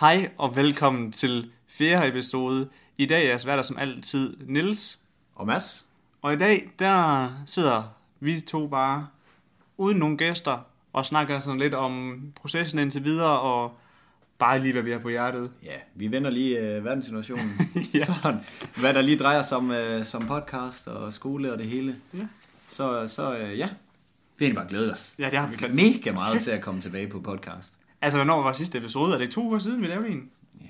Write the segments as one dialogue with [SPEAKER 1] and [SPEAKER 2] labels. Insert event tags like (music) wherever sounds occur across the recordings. [SPEAKER 1] Hej og velkommen til fjerde episode. I dag er jeg værter som altid Nils,
[SPEAKER 2] Og Mads?
[SPEAKER 1] og i dag der sidder vi to bare uden nogen gæster og snakker sådan lidt om processen indtil videre og bare lige hvad vi har på hjertet.
[SPEAKER 2] Ja, vi vender lige øh, verdenssituationen.
[SPEAKER 1] (laughs) Ja.
[SPEAKER 2] ja. Sådan, hvad der lige drejer sig om, øh, som podcast og skole og det hele.
[SPEAKER 1] Ja.
[SPEAKER 2] Så, så øh, ja, vi har egentlig bare glædet os.
[SPEAKER 1] Ja, det har vi
[SPEAKER 2] vi
[SPEAKER 1] fandme.
[SPEAKER 2] mega meget til at komme tilbage på podcast.
[SPEAKER 1] Altså hvornår var sidste episode? Er det to uger siden vi lavede en?
[SPEAKER 2] Ja,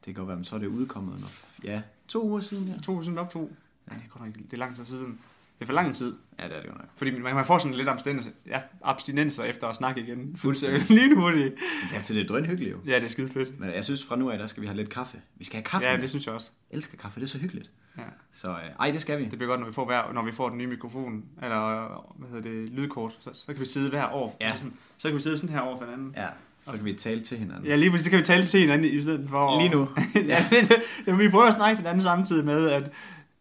[SPEAKER 2] det kan godt være, men så er det udkommet nok. Ja, to uger siden, ja.
[SPEAKER 1] To uger siden optog? Ja, det er godt nok, det er lang tid siden. Det er for lang tid.
[SPEAKER 2] Ja, det er det jo nok.
[SPEAKER 1] Fordi man man får sådan lidt abstinenser, ja, abstinenser efter at snakke igen.
[SPEAKER 2] Fuldstændig.
[SPEAKER 1] (laughs) Lige hurtigt.
[SPEAKER 2] Men det er, altså, det er drønhyggeligt jo.
[SPEAKER 1] Ja, det er skide fedt.
[SPEAKER 2] Men jeg synes, fra nu af, der skal vi have lidt kaffe. Vi skal have kaffe.
[SPEAKER 1] Ja,
[SPEAKER 2] Ja,
[SPEAKER 1] det synes jeg også.
[SPEAKER 2] Jeg elsker kaffe, det er så hyggeligt.
[SPEAKER 1] Ja.
[SPEAKER 2] Så øh, ej, det skal vi.
[SPEAKER 1] Det bliver godt, når vi får, hver, når vi får den nye mikrofon, eller øh, hvad hedder det, lydkort, så, så kan vi sidde hver år.
[SPEAKER 2] Ja.
[SPEAKER 1] Så, sådan, så kan vi sidde sådan her over for hinanden.
[SPEAKER 2] Ja, så kan vi tale til hinanden.
[SPEAKER 1] Ja, lige præcis, så kan vi tale til hinanden i stedet for...
[SPEAKER 2] Lige nu.
[SPEAKER 1] (laughs) ja, det, det, det, vi prøver at snakke til hinanden samtidig med, at,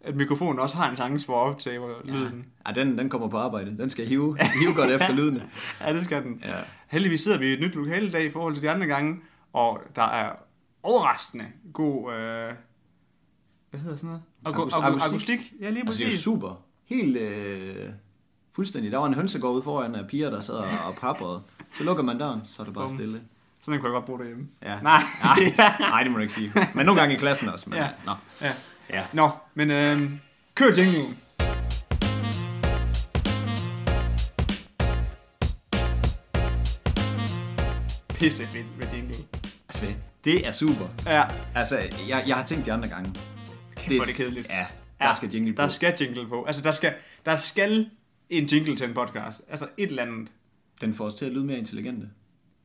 [SPEAKER 1] at mikrofonen også har en chance for at optage ja. lyden.
[SPEAKER 2] Ja, den, den kommer på arbejde. Den skal hive, hive godt efter lyden.
[SPEAKER 1] (laughs) Ja, det skal den.
[SPEAKER 2] Ja.
[SPEAKER 1] Heldigvis sidder vi i et nyt lokale i dag i forhold til de andre gange, og der er overraskende god... Øh, hvad hedder sådan noget?
[SPEAKER 2] Akus-
[SPEAKER 1] akustik.
[SPEAKER 2] akustik.
[SPEAKER 1] akustik. Ja, lige
[SPEAKER 2] Altså, det er jo
[SPEAKER 1] præcis.
[SPEAKER 2] super. Helt øh, fuldstændig. Der var en hønsegård ude foran af piger, der sad og, og paprede. Så lukker man døren, så er det bare
[SPEAKER 1] Bum.
[SPEAKER 2] stille.
[SPEAKER 1] Sådan kunne jeg godt bruge derhjemme.
[SPEAKER 2] Ja.
[SPEAKER 1] Nej.
[SPEAKER 2] Nej, det må du ikke sige. Men nogle gange i klassen også. Men,
[SPEAKER 1] Ja.
[SPEAKER 2] ja. Nå.
[SPEAKER 1] (laughs) Ja.
[SPEAKER 2] Ja.
[SPEAKER 1] Nå, men øh, kør jinglen. Pisse fedt med jingle.
[SPEAKER 2] Altså, det er super.
[SPEAKER 1] Ja,
[SPEAKER 2] Altså, jeg, jeg har tænkt de andre gange.
[SPEAKER 1] kæft det, hvor er det kedeligt.
[SPEAKER 2] Ja, der
[SPEAKER 1] Ja,
[SPEAKER 2] skal jingle på.
[SPEAKER 1] Der skal jingle på. Altså, der skal, der skal en jingle til en podcast. Altså, et eller andet.
[SPEAKER 2] Den får os til at lyde mere intelligente.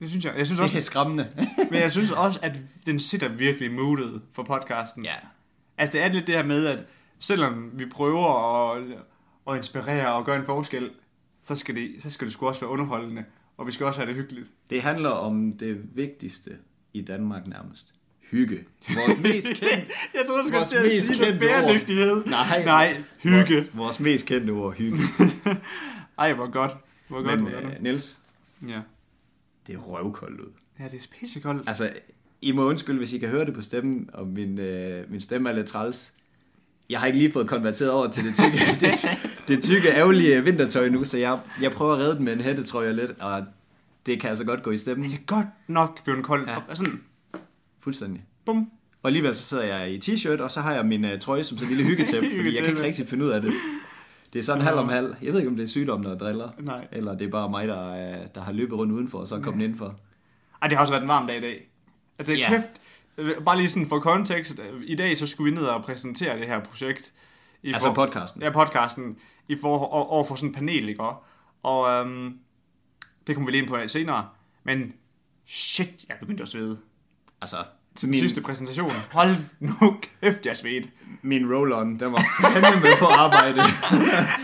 [SPEAKER 1] Det synes jeg. Jeg synes også,
[SPEAKER 2] Det (laughs) er
[SPEAKER 1] (laughs)
[SPEAKER 2] skræmmende.
[SPEAKER 1] Men jeg synes også, at den sætter virkelig moodet for podcasten.
[SPEAKER 2] ja.
[SPEAKER 1] Altså, det er lidt det her med, at selvom vi prøver at, at inspirere og gøre en forskel, så skal, det, så skal det sgu også være underholdende, og vi skal også have det hyggeligt.
[SPEAKER 2] Det handler om det vigtigste i Danmark nærmest. Hygge. Vores
[SPEAKER 1] (laughs)
[SPEAKER 2] mest kendte
[SPEAKER 1] Jeg troede, du skulle
[SPEAKER 2] Vores
[SPEAKER 1] til at
[SPEAKER 2] mest
[SPEAKER 1] sige noget
[SPEAKER 2] kendte ord.
[SPEAKER 1] bæredygtighed.
[SPEAKER 2] Nej.
[SPEAKER 1] Nej, hygge.
[SPEAKER 2] Vor- Vores mest kendte ord, hygge.
[SPEAKER 1] Ej, hvor godt. Hvor godt,
[SPEAKER 2] Men
[SPEAKER 1] hvor godt.
[SPEAKER 2] øh, Niels,
[SPEAKER 1] Ja.
[SPEAKER 2] det er røvkoldt ud.
[SPEAKER 1] ja, det er pissekoldt.
[SPEAKER 2] Altså, I må undskylde, hvis I kan høre det på stemmen, og min, øh, min stemme er lidt træls. Jeg har ikke lige fået konverteret over til det
[SPEAKER 1] (laughs)
[SPEAKER 2] tykke, det, ty- det tykke ærgerlige vintertøj nu, så jeg, jeg prøver at redde den med en hættetrøje lidt, og det kan altså godt gå i stemmen.
[SPEAKER 1] Men det er godt nok blevet koldt.
[SPEAKER 2] Ja.
[SPEAKER 1] Ja. Sådan,
[SPEAKER 2] Fuldstændig.
[SPEAKER 1] bum.
[SPEAKER 2] Og alligevel så sidder jeg i t-shirt, og så har jeg min øh, trøje som sådan en lille (laughs) hyggetæppe, fordi jeg kan ikke
[SPEAKER 1] Hyggetæppe.
[SPEAKER 2] rigtig finde ud af det. Det er sådan halv om halv. Jeg ved ikke, om det er sygdommen, der driller.
[SPEAKER 1] Nej.
[SPEAKER 2] Eller det er bare mig, der, øh, der har løbet rundt udenfor, og så er kommet indenfor.
[SPEAKER 1] Ej, det har også været en varm dag i dag. Altså,
[SPEAKER 2] Ja.
[SPEAKER 1] yeah. kæft. øh, Bare lige sådan for kontekst. øh, I dag så skulle vi ned og præsentere det her projekt. I
[SPEAKER 2] Altså podcasten.
[SPEAKER 1] Ja, podcasten. I for, over, over for sådan et panel, ikke? også? Og øhm, det kommer vi lige ind på senere. Men shit, jeg begyndte at svede.
[SPEAKER 2] Altså,
[SPEAKER 1] Til den sidste præsentation. Hold nu kæft, jeg svedte.
[SPEAKER 2] min roll-on, (laughs) den var fandme med på arbejde.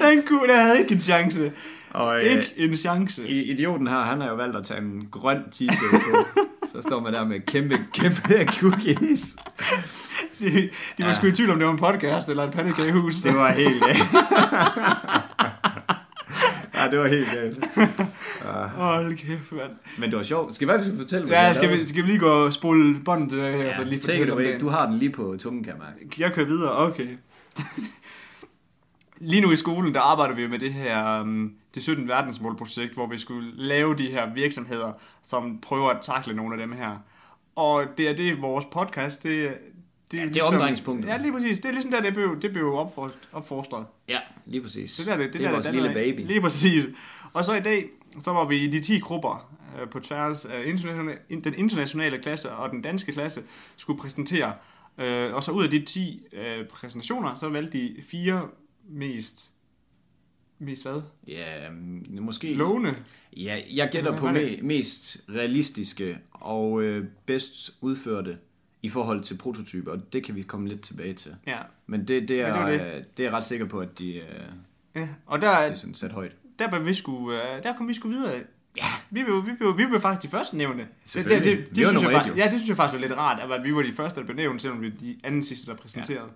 [SPEAKER 1] Den kunne, jeg havde ikke en chance.
[SPEAKER 2] Og øh,
[SPEAKER 1] Ikke en chance.
[SPEAKER 2] i- idioten her, han har jo valgt at tage en grøn t-shirt (laughs) på. Så står man der med kæmpe, kæmpe cookies.
[SPEAKER 1] De, de var
[SPEAKER 2] Ja.
[SPEAKER 1] sgu i tvivl, om det var en podcast eller et pandekagehus.
[SPEAKER 2] Det var helt... (laughs) ja, det var helt galt.
[SPEAKER 1] Hold kæft, mand.
[SPEAKER 2] Men det var sjovt. Skal vi faktisk fortælle,
[SPEAKER 1] Ja, skal vi, skal vi lige gå og spole båndet øh, her,
[SPEAKER 2] Ja,
[SPEAKER 1] så lige
[SPEAKER 2] take it
[SPEAKER 1] fortælle om
[SPEAKER 2] away.
[SPEAKER 1] det?
[SPEAKER 2] Du har den lige på tungen, kan jeg mærke.
[SPEAKER 1] Jeg kører videre, okay. (laughs) lige nu i skolen, der arbejder vi med det her, um, det 17 verdensmålprojekt, hvor vi skulle lave de her virksomheder, som prøver at takle nogle af dem her. Og det er det, vores podcast, det, det,
[SPEAKER 2] det er omdrejningspunktet.
[SPEAKER 1] Ja, lige præcis. Det er ligesom der, det blev, det blev opfor- opfostret.
[SPEAKER 2] Ja, lige præcis.
[SPEAKER 1] Det, der, det, det,
[SPEAKER 2] er
[SPEAKER 1] der,
[SPEAKER 2] vores
[SPEAKER 1] der,
[SPEAKER 2] lille
[SPEAKER 1] der,
[SPEAKER 2] baby.
[SPEAKER 1] Lige præcis. Og så i dag, så var vi i de 10 grupper øh, på tværs af internationale, in- den internationale klasse og den danske klasse, skulle præsentere. Øh, og så ud af de 10 øh, præsentationer, så valgte de fire mest, mest hvad?
[SPEAKER 2] Ja, mm, måske...
[SPEAKER 1] Lovende.
[SPEAKER 2] Ja, jeg
[SPEAKER 1] Hvad
[SPEAKER 2] gætter på
[SPEAKER 1] var
[SPEAKER 2] me- mest realistiske og øh, bedst udførte i forhold til prototyper, og det kan vi komme lidt tilbage til.
[SPEAKER 1] Ja.
[SPEAKER 2] Men det, det, er,
[SPEAKER 1] Men det
[SPEAKER 2] det,
[SPEAKER 1] var
[SPEAKER 2] er, det. det er jeg ret sikker på, at de, øh,
[SPEAKER 1] ja. Og
[SPEAKER 2] de er
[SPEAKER 1] der,
[SPEAKER 2] sådan sat højt.
[SPEAKER 1] der, blev vi sgu, øh, der kom vi sgu videre. Ja. Vi blev, vi blev, vi blev faktisk de første nævne. Det, det,
[SPEAKER 2] Selvfølgelig.
[SPEAKER 1] det, det,
[SPEAKER 2] Vi var
[SPEAKER 1] synes jeg,
[SPEAKER 2] nummer et,
[SPEAKER 1] faktisk-
[SPEAKER 2] jo.
[SPEAKER 1] ja, det synes jeg faktisk var lidt rart, at vi var de første, der blev nævnt, selvom vi var de anden sidste, der præsenterede.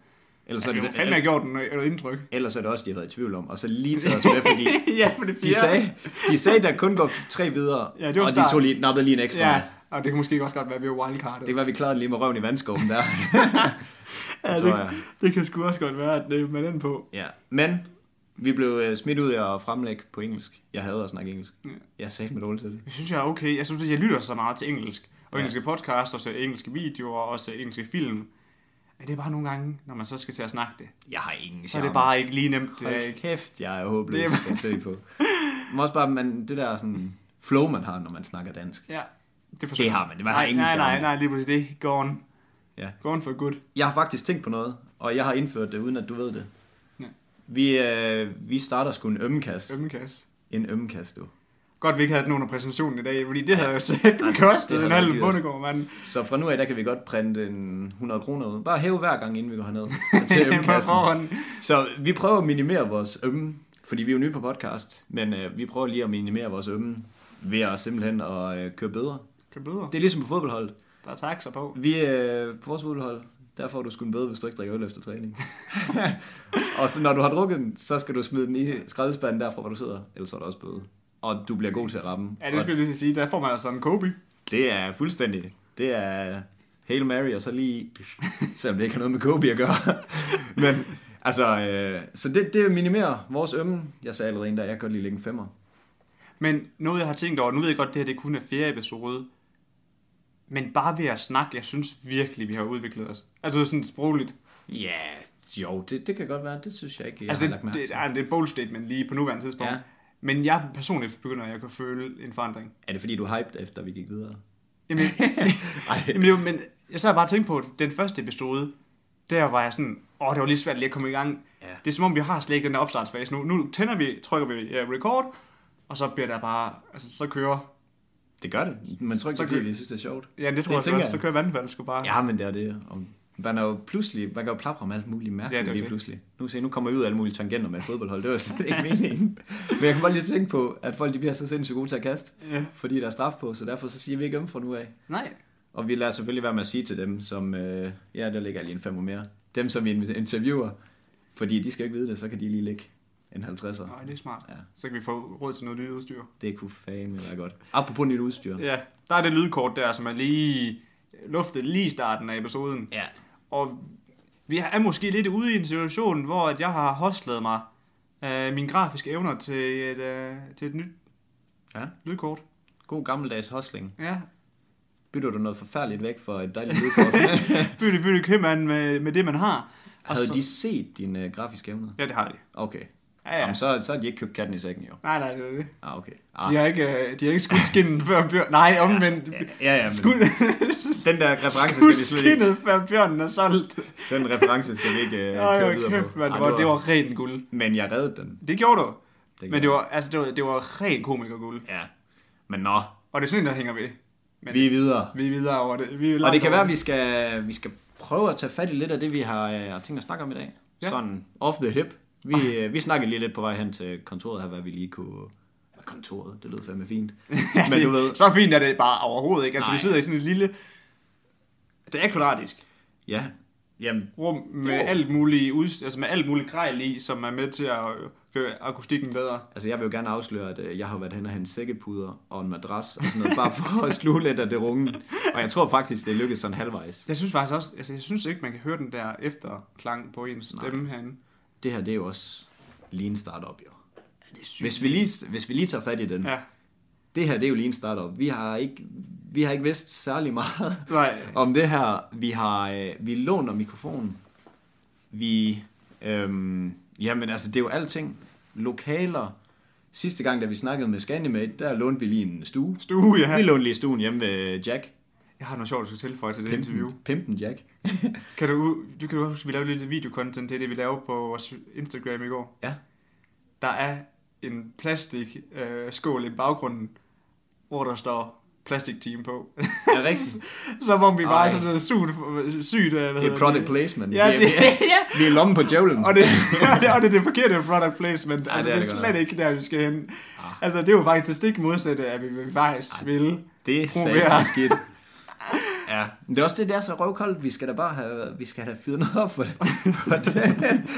[SPEAKER 2] Ellers,
[SPEAKER 1] Så Altså,
[SPEAKER 2] er
[SPEAKER 1] det må
[SPEAKER 2] det,
[SPEAKER 1] fandme have gjort noget noget indtryk.
[SPEAKER 2] ellers er det også, de har været i tvivl om, og så lige taget os med, fordi
[SPEAKER 1] (laughs) ja, for det
[SPEAKER 2] de sagde, de sagde, der kun går tre videre,
[SPEAKER 1] Ja, det var
[SPEAKER 2] og de
[SPEAKER 1] start.
[SPEAKER 2] tog lige, nappede lige en ekstra.
[SPEAKER 1] Ja,
[SPEAKER 2] med.
[SPEAKER 1] Og det kan måske også godt være, at vi var wildcardet.
[SPEAKER 2] Det kan være, vi klarede den lige med røven i vandskoven der.
[SPEAKER 1] (laughs) ja,
[SPEAKER 2] tror
[SPEAKER 1] det,
[SPEAKER 2] jeg.
[SPEAKER 1] det kan sgu også godt være, at det man den på.
[SPEAKER 2] ja. Men vi blev øh, smidt ud af at fremlægge på engelsk. Jeg hader at snakke engelsk.
[SPEAKER 1] Ja.
[SPEAKER 2] Jeg sagde mig dårligt til det.
[SPEAKER 1] Jeg synes, jeg er okay. Jeg synes, at jeg lytter så meget til engelsk. Og engelske podcasts, og så engelske videoer, og så engelske film. Men det er bare nogle gange, når man så skal til at snakke det,
[SPEAKER 2] Jeg har ingen
[SPEAKER 1] så er det
[SPEAKER 2] charme.
[SPEAKER 1] bare ikke lige nemt. Det er
[SPEAKER 2] Hold
[SPEAKER 1] ikke.
[SPEAKER 2] kæft, jeg er håbløs
[SPEAKER 1] Det er bare-
[SPEAKER 2] at se på. Men også bare, man, det der sådan flow, man har, når man snakker dansk.
[SPEAKER 1] Ja, det,
[SPEAKER 2] Det har man. Det var
[SPEAKER 1] nej,
[SPEAKER 2] ingen
[SPEAKER 1] nej, nej,
[SPEAKER 2] charme.
[SPEAKER 1] nej, lige præcis. Det er gone.
[SPEAKER 2] Ja.
[SPEAKER 1] Gone for good.
[SPEAKER 2] Jeg har faktisk tænkt på noget, og jeg har indført det, uden at du ved det.
[SPEAKER 1] Ja.
[SPEAKER 2] Vi, øh, vi starter sgu en ømmekasse.
[SPEAKER 1] Ømmekasse.
[SPEAKER 2] En ømmekasse, du.
[SPEAKER 1] Godt, vi ikke havde nogen af præsentationen i dag, fordi det havde jo selv
[SPEAKER 2] det
[SPEAKER 1] kostet en
[SPEAKER 2] havde været
[SPEAKER 1] halv
[SPEAKER 2] dyrt.
[SPEAKER 1] bundegård, mand.
[SPEAKER 2] Så fra nu af, der kan vi godt printe en 100 kroner ud. Bare hæve hver gang, inden vi går
[SPEAKER 1] (laughs)
[SPEAKER 2] herned til
[SPEAKER 1] På
[SPEAKER 2] ømmekassen.
[SPEAKER 1] forhånd.
[SPEAKER 2] Så vi prøver at minimere vores ømme, fordi vi er jo nye på podcast, men øh, vi prøver lige at minimere vores ømme ved at simpelthen at øh, køre bedre.
[SPEAKER 1] Kan bøder.
[SPEAKER 2] Det er ligesom på fodboldholdet.
[SPEAKER 1] Der er taxer på.
[SPEAKER 2] Vi øh, på vores fodboldhold, der får du sgu en bøde, hvis du ikke drikker øl efter træning. og så når du har drukket den, så skal du smide den i skraldespanden derfra, hvor du sidder. Ellers er der også bøde. Og du bliver god til at ramme.
[SPEAKER 1] Ja, det
[SPEAKER 2] og
[SPEAKER 1] skulle jeg lige til at sige. Der får man altså en Kobe.
[SPEAKER 2] det er fuldstændig. Det er Hail Mary og så lige (laughs) i. selvom det ikke har noget med Kobe at gøre. (laughs) Men altså, øh, så det, det minimerer vores ømme. Jeg sagde allerede en dag, jeg kan godt lige lægge en femmer.
[SPEAKER 1] Men noget, jeg har tænkt over, nu ved jeg godt, det her det kun er fjerde episode, men bare ved at snakke, jeg synes virkelig, vi har udviklet os. Altså sådan sprogligt.
[SPEAKER 2] Ja, jo, det, det kan godt være. Det synes jeg ikke, jeg
[SPEAKER 1] altså,
[SPEAKER 2] altså, har
[SPEAKER 1] det,
[SPEAKER 2] lagt mærke
[SPEAKER 1] det,
[SPEAKER 2] til.
[SPEAKER 1] er, det er et bold statement lige på nuværende tidspunkt.
[SPEAKER 2] Ja.
[SPEAKER 1] Ja. Men jeg personligt begynder, at jeg kan føle en forandring.
[SPEAKER 2] Er det fordi, du er hyped, efter vi gik videre? (laughs)
[SPEAKER 1] Jamen, jamen det var, men jeg sad bare og tænkte på, at den første episode, der var jeg sådan, åh, det var lige svært lige at komme i gang.
[SPEAKER 2] Ja.
[SPEAKER 1] Det er som om, vi har slet ikke den der opstartsfase nu. Nu tænder vi, trykker vi ja, record, og så bliver der bare, altså så kører,
[SPEAKER 2] Det gør det. Man tror ikke,
[SPEAKER 1] Så
[SPEAKER 2] det er, fordi
[SPEAKER 1] kan-
[SPEAKER 2] vi synes, det er sjovt.
[SPEAKER 1] ja, det tror
[SPEAKER 2] Det
[SPEAKER 1] det jeg,
[SPEAKER 2] tænker
[SPEAKER 1] jeg, så
[SPEAKER 2] jeg.
[SPEAKER 1] kører vandfald, sgu bare.
[SPEAKER 2] Ja, men det er det. Og man er jo pludselig, man kan jo plapre om alt muligt mærkeligt
[SPEAKER 1] Ja, det
[SPEAKER 2] ja,
[SPEAKER 1] er
[SPEAKER 2] lige
[SPEAKER 1] det.
[SPEAKER 2] pludselig. Nu se, nu kommer jeg ud af alle mulige tangenter med et fodboldhold. Det var slet ikke meningen. Men jeg kan bare lige tænke på, at folk de bliver så sindssygt gode til at kaste,
[SPEAKER 1] Ja.
[SPEAKER 2] fordi der er straf på, så derfor så siger vi ikke om fra nu af.
[SPEAKER 1] Nej,
[SPEAKER 2] Og vi lader selvfølgelig være med at sige til dem, som, øh, ja, der ligger lige en femmer mere. Dem, som vi interviewer, fordi de skal jo ikke vide det, så kan de lige ligge en 50'er.
[SPEAKER 1] nej, det er smart.
[SPEAKER 2] Ja.
[SPEAKER 1] Så kan vi få råd til noget nyt udstyr.
[SPEAKER 2] Det kunne fandme være godt. Apropos nyt udstyr.
[SPEAKER 1] Ja, der er det lydkort der, som er lige luftet lige i starten af episoden.
[SPEAKER 2] Ja.
[SPEAKER 1] Og vi er måske lidt ude i en situation, hvor at jeg har hostlet mig øh, mine grafiske evner til et, øh, til et nyt
[SPEAKER 2] Ja.
[SPEAKER 1] lydkort.
[SPEAKER 2] God gammeldags hostling.
[SPEAKER 1] Ja.
[SPEAKER 2] Bytter du noget forfærdeligt væk for et dejligt
[SPEAKER 1] (laughs)
[SPEAKER 2] lydkort?
[SPEAKER 1] Bytte, bytte købmand med, med det, man har. Og
[SPEAKER 2] Havde
[SPEAKER 1] så-
[SPEAKER 2] de set dine øh, grafiske evner?
[SPEAKER 1] Ja, det har de.
[SPEAKER 2] Okay.
[SPEAKER 1] Ja,
[SPEAKER 2] Ja,
[SPEAKER 1] ja.
[SPEAKER 2] Jamen, så, så har de ikke købt katten i sækken, jo.
[SPEAKER 1] Nej, nej, det er det.
[SPEAKER 2] Ah, okay.
[SPEAKER 1] De
[SPEAKER 2] Ah.
[SPEAKER 1] har ikke, øh, de har ikke skudt skinnen før bjørn. Nej, omvendt. Ja,
[SPEAKER 2] Ja, ja,
[SPEAKER 1] ja,
[SPEAKER 2] men
[SPEAKER 1] skudt,
[SPEAKER 2] den der
[SPEAKER 1] (laughs)
[SPEAKER 2] reference
[SPEAKER 1] skudt
[SPEAKER 2] skal vi slet ikke,
[SPEAKER 1] skinnet før bjørnen er solgt.
[SPEAKER 2] den reference skal vi ikke uh,
[SPEAKER 1] Ja,
[SPEAKER 2] køre
[SPEAKER 1] jo,
[SPEAKER 2] videre
[SPEAKER 1] kæft,
[SPEAKER 2] på.
[SPEAKER 1] mand.
[SPEAKER 2] Ej,
[SPEAKER 1] Det var, det var ren guld.
[SPEAKER 2] Men jeg reddede den.
[SPEAKER 1] Det gjorde du. Men
[SPEAKER 2] Det gjorde
[SPEAKER 1] det var, altså, det var, det var ren komikerguld.
[SPEAKER 2] jeg. Ja. Men nå,
[SPEAKER 1] Og det er sådan, en, der hænger ved. Men-
[SPEAKER 2] vi er videre.
[SPEAKER 1] Vi er videre over det. Vi er
[SPEAKER 2] Og
[SPEAKER 1] langt
[SPEAKER 2] det kan
[SPEAKER 1] over
[SPEAKER 2] være, at vi skal, vi skal prøve at tage fat i lidt af det, vi har, øh, har tænkt at snakke om i dag.
[SPEAKER 1] Ja. Ah.
[SPEAKER 2] Sådan off the hip. Vi, øh, vi snakkede lige lidt på vej hen til kontoret her, hvad vi lige kunne... eller Kontoret, det lød fandme fint.
[SPEAKER 1] (laughs) Ja,
[SPEAKER 2] Men
[SPEAKER 1] det-
[SPEAKER 2] du ved,
[SPEAKER 1] Så fint er det bare overhovedet ikke. Altså, Nej.
[SPEAKER 2] Nej.
[SPEAKER 1] vi sidder i sådan et lille... Det er kvadratisk
[SPEAKER 2] ja, jamen,
[SPEAKER 1] rum med
[SPEAKER 2] Jo.
[SPEAKER 1] alt muligt udst- altså med alt muligt grej i, som er med til at øh, gøre akustikken bedre.
[SPEAKER 2] Altså, jeg vil jo gerne afsløre, at øh, jeg har været hen og hente sækkepuder og en madras og sådan noget, bare for at sluge lidt af det rungen. Og jeg tror faktisk, det lykkedes sådan halvvejs.
[SPEAKER 1] Jeg synes faktisk også, altså jeg synes ikke, man kan høre den der efterklang på ens stemme herinde.
[SPEAKER 2] Det her, det er jo også lean startup, jo.
[SPEAKER 1] Det er sygt.
[SPEAKER 2] Hvis vi lige, hvis vi lige tager fat i den.
[SPEAKER 1] Ja,
[SPEAKER 2] Det her, det er jo lean startup. Vi har ikke, vi har ikke vidst særlig meget
[SPEAKER 1] (laughs) nej.
[SPEAKER 2] om det her. Vi har, øh, vi låner mikrofonen. Vi, øhm, jamen altså, det er jo alting. Lokaler. Sidste gang, da vi snakkede med Scandimate, der lånte vi lige en stue.
[SPEAKER 1] Stue,
[SPEAKER 2] Vi
[SPEAKER 1] Uh, ja.
[SPEAKER 2] lånte lige stuen hjemme ved Jack.
[SPEAKER 1] Jeg har noget sjovt, du skal tilføje til det interview.
[SPEAKER 2] Pimpen
[SPEAKER 1] (laughs)
[SPEAKER 2] Jack.
[SPEAKER 1] Kan du, du kan jo huske, vi lavede lidt videocontent, det er det, vi lavede på vores Instagram i går.
[SPEAKER 2] Ja.
[SPEAKER 1] Der er en plastik øh, skål i baggrunden, hvor der står plastik team på. (laughs)
[SPEAKER 2] Er det rigtigt?
[SPEAKER 1] Som om vi bare
[SPEAKER 2] Ej.
[SPEAKER 1] er sådan noget sygt, sygt øh, hvad
[SPEAKER 2] Det er
[SPEAKER 1] hedder
[SPEAKER 2] product placement.
[SPEAKER 1] Ja,
[SPEAKER 2] Vi er-
[SPEAKER 1] det, (laughs)
[SPEAKER 2] vi er-
[SPEAKER 1] ja.
[SPEAKER 2] (laughs) Vi er i lommen på djævlen.
[SPEAKER 1] Og det, (laughs) og det, og det er det forkerte product placement.
[SPEAKER 2] Ej,
[SPEAKER 1] altså,
[SPEAKER 2] det
[SPEAKER 1] det
[SPEAKER 2] er
[SPEAKER 1] er,
[SPEAKER 2] det godt
[SPEAKER 1] slet
[SPEAKER 2] nok. Ah.
[SPEAKER 1] ikke der, vi skal hen. Altså, det er jo faktisk det stik modsatte, at vi vil faktisk vil.
[SPEAKER 2] Det er
[SPEAKER 1] Proberer.
[SPEAKER 2] satme
[SPEAKER 1] (laughs)
[SPEAKER 2] skidt. Ja, men det er også det, der er så røvkoldt. Vi skal da bare have, vi skal have fyret noget op for
[SPEAKER 1] (laughs)
[SPEAKER 2] det. For det.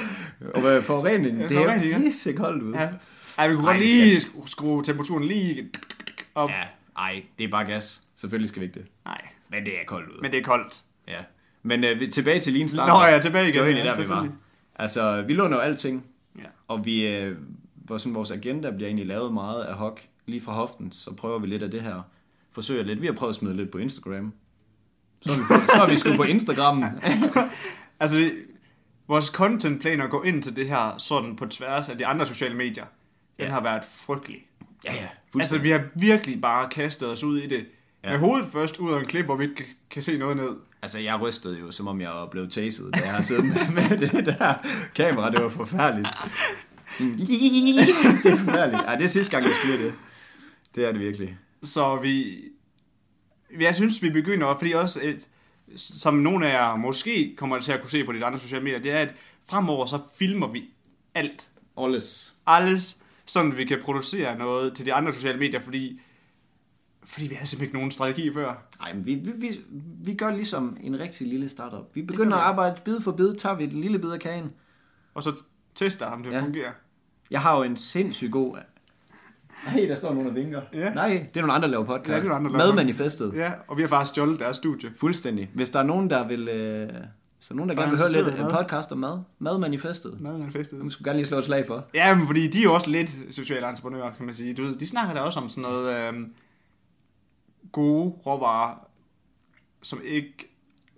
[SPEAKER 2] Og hvad, forureningen,
[SPEAKER 1] Ja,
[SPEAKER 2] det er
[SPEAKER 1] forurening,
[SPEAKER 2] jo
[SPEAKER 1] ja.
[SPEAKER 2] pissekoldt ude.
[SPEAKER 1] Ja. Ej, vi kunne
[SPEAKER 2] Ej,
[SPEAKER 1] godt
[SPEAKER 2] det
[SPEAKER 1] lige skrue, skrue temperaturen lige op.
[SPEAKER 2] ej, det er bare gas. Selvfølgelig skal vi ikke det.
[SPEAKER 1] Nej,
[SPEAKER 2] Men det er koldt ud.
[SPEAKER 1] men det er koldt. (laughs)
[SPEAKER 2] Ja. Men øh, vi- tilbage til Lean Startup.
[SPEAKER 1] Nå, jeg er tilbage igen.
[SPEAKER 2] Det var egentlig
[SPEAKER 1] Ja,
[SPEAKER 2] der, vi var.
[SPEAKER 1] selvfølgelig.
[SPEAKER 2] Altså, vi låner jo alting,
[SPEAKER 1] Ja.
[SPEAKER 2] og vi, øh, hvor sådan, vores agenda bliver egentlig lavet meget af hok. Lige fra hoften, så prøver vi lidt af det her. Forsøger lidt. Vi har prøvet at smide lidt på Instagram. Så er vi, på, så er vi sgu på Instagram.
[SPEAKER 1] Altså, det- vores content plan at gå ind til det her sådan på tværs af de andre sociale medier, den
[SPEAKER 2] Ja.
[SPEAKER 1] har været frygtelig.
[SPEAKER 2] Ja, ja.
[SPEAKER 1] Altså, vi har virkelig bare kastet os ud i det.
[SPEAKER 2] Ja.
[SPEAKER 1] Ja. Med hovedet først ud af en klip, hvor vi ikke kan- kan se noget ned.
[SPEAKER 2] Altså, jeg rystede jo, som om jeg var blevet chased, da jeg har siddet med, med det der kamera. Det var forfærdeligt. Sådan, det er forfærdeligt. Ej, det er sidste gang, jeg styrer det. Det er det virkelig.
[SPEAKER 1] Så vi... Jeg synes, vi begynder, fordi også, et, som nogle af jer måske kommer til at kunne se på de andre sociale medier, det er, at fremover så filmer vi alt.
[SPEAKER 2] Alles.
[SPEAKER 1] alles, sådan vi kan producere noget til de andre sociale medier, fordi, fordi vi havde simpelthen ikke nogen strategi før.
[SPEAKER 2] Nej, men vi, vi, vi, vi gør ligesom en rigtig lille startup. Vi begynder at arbejde bid for bid, tager vi et lille bid af kagen.
[SPEAKER 1] Og så tester om det
[SPEAKER 2] Ja.
[SPEAKER 1] ja. fungerer.
[SPEAKER 2] Jeg har jo en sindssygt god... Nej, der står nogen og vinker.
[SPEAKER 1] Ja.
[SPEAKER 2] Nej, det er nogle andre, der laver podcast.
[SPEAKER 1] Ja, det er nogle andre, der laver
[SPEAKER 2] Madmanifestet.
[SPEAKER 1] Ja, og vi har faktisk stjålet deres studie.
[SPEAKER 2] Fuldstændig. Hvis der er nogen, der vil... Øh, hvis der er nogen, der
[SPEAKER 1] Der er
[SPEAKER 2] gerne vil høre lidt
[SPEAKER 1] interesseret i
[SPEAKER 2] af
[SPEAKER 1] mad.
[SPEAKER 2] podcast om mad. Madmanifestet.
[SPEAKER 1] Mad man
[SPEAKER 2] Nu
[SPEAKER 1] festet.
[SPEAKER 2] skulle gerne lige slå et slag for.
[SPEAKER 1] Ja, men fordi de er jo også lidt sociale entreprenører, kan man sige. Du ved, de snakker da også om sådan noget øh, gode råvarer, som ikke...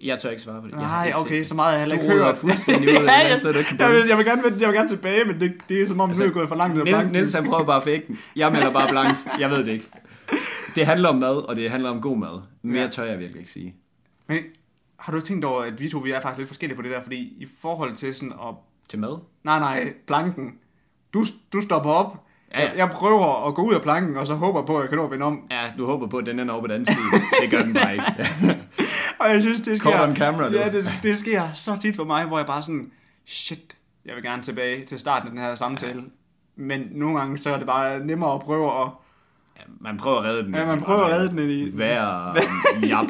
[SPEAKER 2] Jeg tør ikke svare på det. Jeg har
[SPEAKER 1] Nej,
[SPEAKER 2] ikke set
[SPEAKER 1] okay,
[SPEAKER 2] det.
[SPEAKER 1] så meget har jeg heller
[SPEAKER 2] Du
[SPEAKER 1] ikke
[SPEAKER 2] ruder
[SPEAKER 1] hørt. (laughs)
[SPEAKER 2] fuldstændig ud af et eller andet sted, du ikke kan
[SPEAKER 1] jeg,
[SPEAKER 2] dømme.
[SPEAKER 1] vil, jeg, vil gerne, jeg vil gerne tilbage, men det, det er som om, altså,
[SPEAKER 2] Altså,
[SPEAKER 1] nu er jeg gået for langt ud af
[SPEAKER 2] Niel-
[SPEAKER 1] blanken.
[SPEAKER 2] Niels han prøver bare at fake den. Jeg melder bare blankt. Jeg ved det ikke. Det handler om mad, og det handler om god mad. Mere
[SPEAKER 1] Ja.
[SPEAKER 2] tør jeg virkelig ikke sige.
[SPEAKER 1] Men har du ikke tænkt over, at vi to vi er faktisk lidt forskellige på det der? Fordi i forhold til sådan at...
[SPEAKER 2] Til mad?
[SPEAKER 1] Nej, nej, planken. Du, du stopper op.
[SPEAKER 2] Ja, ja.
[SPEAKER 1] Jeg, jeg prøver at gå ud af planken, og så håber på, at jeg kan nå at vende om.
[SPEAKER 2] Ja, du håber på, at den ender over på den anden side. Det gør den bare ikke.
[SPEAKER 1] (laughs) Og jeg synes, det sker...
[SPEAKER 2] Caught on camera, du.
[SPEAKER 1] Ja, det, det sker så tit for mig, hvor jeg bare sådan... Shit, jeg vil gerne tilbage til starten af den her samtale. Ja. Men nogle gange, så er det bare nemmere at (laughs) prøve at...
[SPEAKER 2] Ja, man prøver at redde den.
[SPEAKER 1] Ja, man prøver at redde den i... (laughs)
[SPEAKER 2] Vær jap.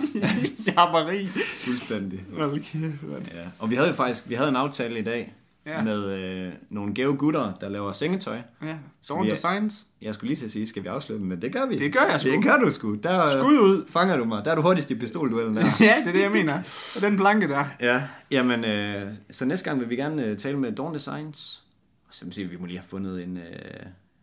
[SPEAKER 1] Jabberi.
[SPEAKER 2] Fuldstændig.
[SPEAKER 1] Hold kæft, mand.
[SPEAKER 2] Ja. Og vi havde jo faktisk vi havde en aftale i dag
[SPEAKER 1] Ja.
[SPEAKER 2] med øh, nogle gave gutter, der laver sengetøj.
[SPEAKER 1] Ja, så rundt
[SPEAKER 2] Vi er-
[SPEAKER 1] til science. (laughs)
[SPEAKER 2] Jeg skulle lige til at sige, skal vi afsløre dem, men det gør vi.
[SPEAKER 1] Det gør jeg sgu.
[SPEAKER 2] Det gør du sgu. Der, øh,
[SPEAKER 1] Skud ud.
[SPEAKER 2] Fanger du mig. Der er du hurtigst i
[SPEAKER 1] (laughs)
[SPEAKER 2] pistolduellen der.
[SPEAKER 1] Ja, det er det, jeg mener. Og den planke der.
[SPEAKER 2] ja, jamen, øh, så næste gang vil vi gerne øh, tale med Dawn Designs. Og så må vi se, vi må lige have fundet en, øh,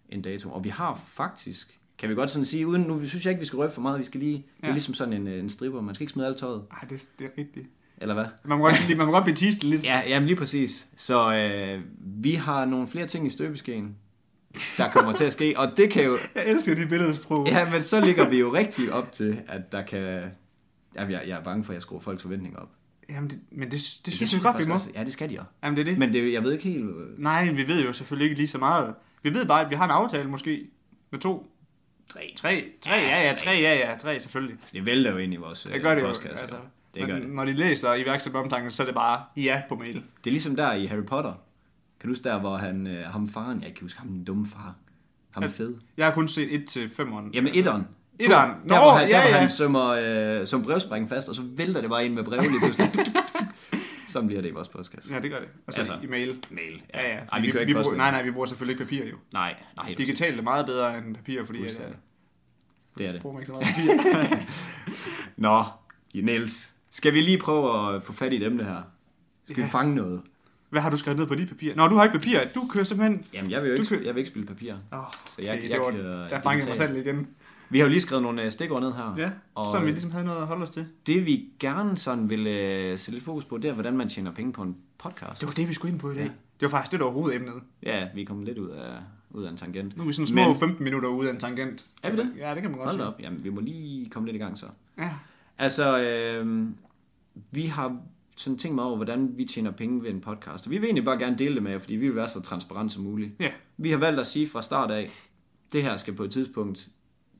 [SPEAKER 2] en dato. Og vi har faktisk, kan vi godt sådan sige, uden, nu synes jeg ikke, vi skal røbe for meget, vi skal lige, ja. det er
[SPEAKER 1] Ja.
[SPEAKER 2] ligesom sådan en, øh, en stripper, man skal ikke smide alt tøjet,
[SPEAKER 1] Ej, det, det er rigtigt.
[SPEAKER 2] eller hvad?
[SPEAKER 1] Man må godt, lige- man må godt blive tistet lidt.
[SPEAKER 2] Ja, jamen lige præcis. Så øh, vi har nogle flere ting i støbeskeen, der kommer til at ske, og det kan jo,
[SPEAKER 1] Jeg elsker de billedsprog.
[SPEAKER 2] Ja, men så ligger vi jo rigtig op til, at der kan... Jamen, jeg, jeg er bange for, at jeg skruer folks forventninger op.
[SPEAKER 1] Jamen, det, men det, det, det
[SPEAKER 2] Det
[SPEAKER 1] synes jeg godt, vi
[SPEAKER 2] faktisk
[SPEAKER 1] må.
[SPEAKER 2] også- Ja, det skal de også.
[SPEAKER 1] Jamen, det er det. Men...
[SPEAKER 2] Men det, jeg ved ikke helt... øh,
[SPEAKER 1] Nej, vi ved jo selvfølgelig ikke lige så meget. Vi ved bare, at vi har en aftale måske med to.
[SPEAKER 2] Tre.
[SPEAKER 1] Tre. Tre, ja, ja, tre, ja, ja, tre, selvfølgelig.
[SPEAKER 2] Altså, det vælter jo ind i vores øh,
[SPEAKER 1] Det gør det jo.
[SPEAKER 2] postkasse.
[SPEAKER 1] Altså,
[SPEAKER 2] det gør
[SPEAKER 1] men
[SPEAKER 2] det.
[SPEAKER 1] Når de læser iværksæt med omtanken, så er det bare ja på mail.
[SPEAKER 2] Det er ligesom der i Harry Potter. Kan du huske der, hvor han, øh, ham faren... Jeg kan huske ham, den dumme far. Ham
[SPEAKER 1] Ja.
[SPEAKER 2] fed.
[SPEAKER 1] Jeg har kun set et til femeren.
[SPEAKER 2] Jamen, etteren. To.
[SPEAKER 1] Etteren.
[SPEAKER 2] Der,
[SPEAKER 1] Nå,
[SPEAKER 2] hvor han, der,
[SPEAKER 1] ja,
[SPEAKER 2] hvor
[SPEAKER 1] ja.
[SPEAKER 2] han sømmer øh, som brevsprækken fast, og så vælter det bare ind med brev lige pludselig. Duk, duk, duk, duk. Sådan bliver det i vores postkasse.
[SPEAKER 1] Ja, det gør det. Altså,
[SPEAKER 2] Altså.
[SPEAKER 1] altså i mail.
[SPEAKER 2] Mail.
[SPEAKER 1] Ja, ja.
[SPEAKER 2] Ej, vi, kører
[SPEAKER 1] vi
[SPEAKER 2] ikke
[SPEAKER 1] bruger,
[SPEAKER 2] postmail.
[SPEAKER 1] nej, nej, vi bruger selvfølgelig ikke papir jo.
[SPEAKER 2] Nej, nej, helt
[SPEAKER 1] Digitalt er meget bedre end papir, fordi at,
[SPEAKER 2] Fuldstændig.
[SPEAKER 1] uh,
[SPEAKER 2] det er det.
[SPEAKER 1] bruger man
[SPEAKER 2] (laughs)
[SPEAKER 1] ikke så meget papir.
[SPEAKER 2] Nå, Niels. Skal vi lige prøve at få fat i dem, det her? Skal ja. vi
[SPEAKER 1] Ja.
[SPEAKER 2] fange noget?
[SPEAKER 1] Hvad har du skrevet ned på dit papir? Nå, du har ikke papir. Du kører simpelthen...
[SPEAKER 2] Jamen, jeg vil jo
[SPEAKER 1] Du
[SPEAKER 2] ikke,
[SPEAKER 1] kan-
[SPEAKER 2] jeg vil ikke spille papir.
[SPEAKER 1] Oh,
[SPEAKER 2] Så jeg- jeg
[SPEAKER 1] det var,
[SPEAKER 2] kører
[SPEAKER 1] der fangede jeg mig
[SPEAKER 2] digitalt.
[SPEAKER 1] selv igen.
[SPEAKER 2] Vi har jo lige skrevet nogle øh, stikord ned her.
[SPEAKER 1] Ja,
[SPEAKER 2] og
[SPEAKER 1] som vi
[SPEAKER 2] øh,
[SPEAKER 1] ligesom havde noget at holde os til.
[SPEAKER 2] det vi gerne sådan vil øh, sætte lidt fokus på, det er, hvordan man tjener penge på en podcast.
[SPEAKER 1] Det var det, vi skulle ind på i dag.
[SPEAKER 2] Ja.
[SPEAKER 1] Ja. Det var faktisk det, der var hovedemnet.
[SPEAKER 2] Ja, vi er kommet lidt ud af, ud af en tangent.
[SPEAKER 1] Nu er vi sådan små
[SPEAKER 2] Men-
[SPEAKER 1] Men... 15 minutter ude af en tangent.
[SPEAKER 2] Er vi det?
[SPEAKER 1] Ja, det kan man godt
[SPEAKER 2] Hold da
[SPEAKER 1] sige.
[SPEAKER 2] op, jamen vi må lige komme lidt i gang så.
[SPEAKER 1] Ja.
[SPEAKER 2] Altså, øh, vi har sådan tænkt meget over, hvordan vi tjener penge ved en podcast. Og vi vil egentlig bare gerne dele det med jer, fordi vi vil være så transparent som muligt.
[SPEAKER 1] ja.
[SPEAKER 2] Vi har valgt at sige fra start af, det her skal på et tidspunkt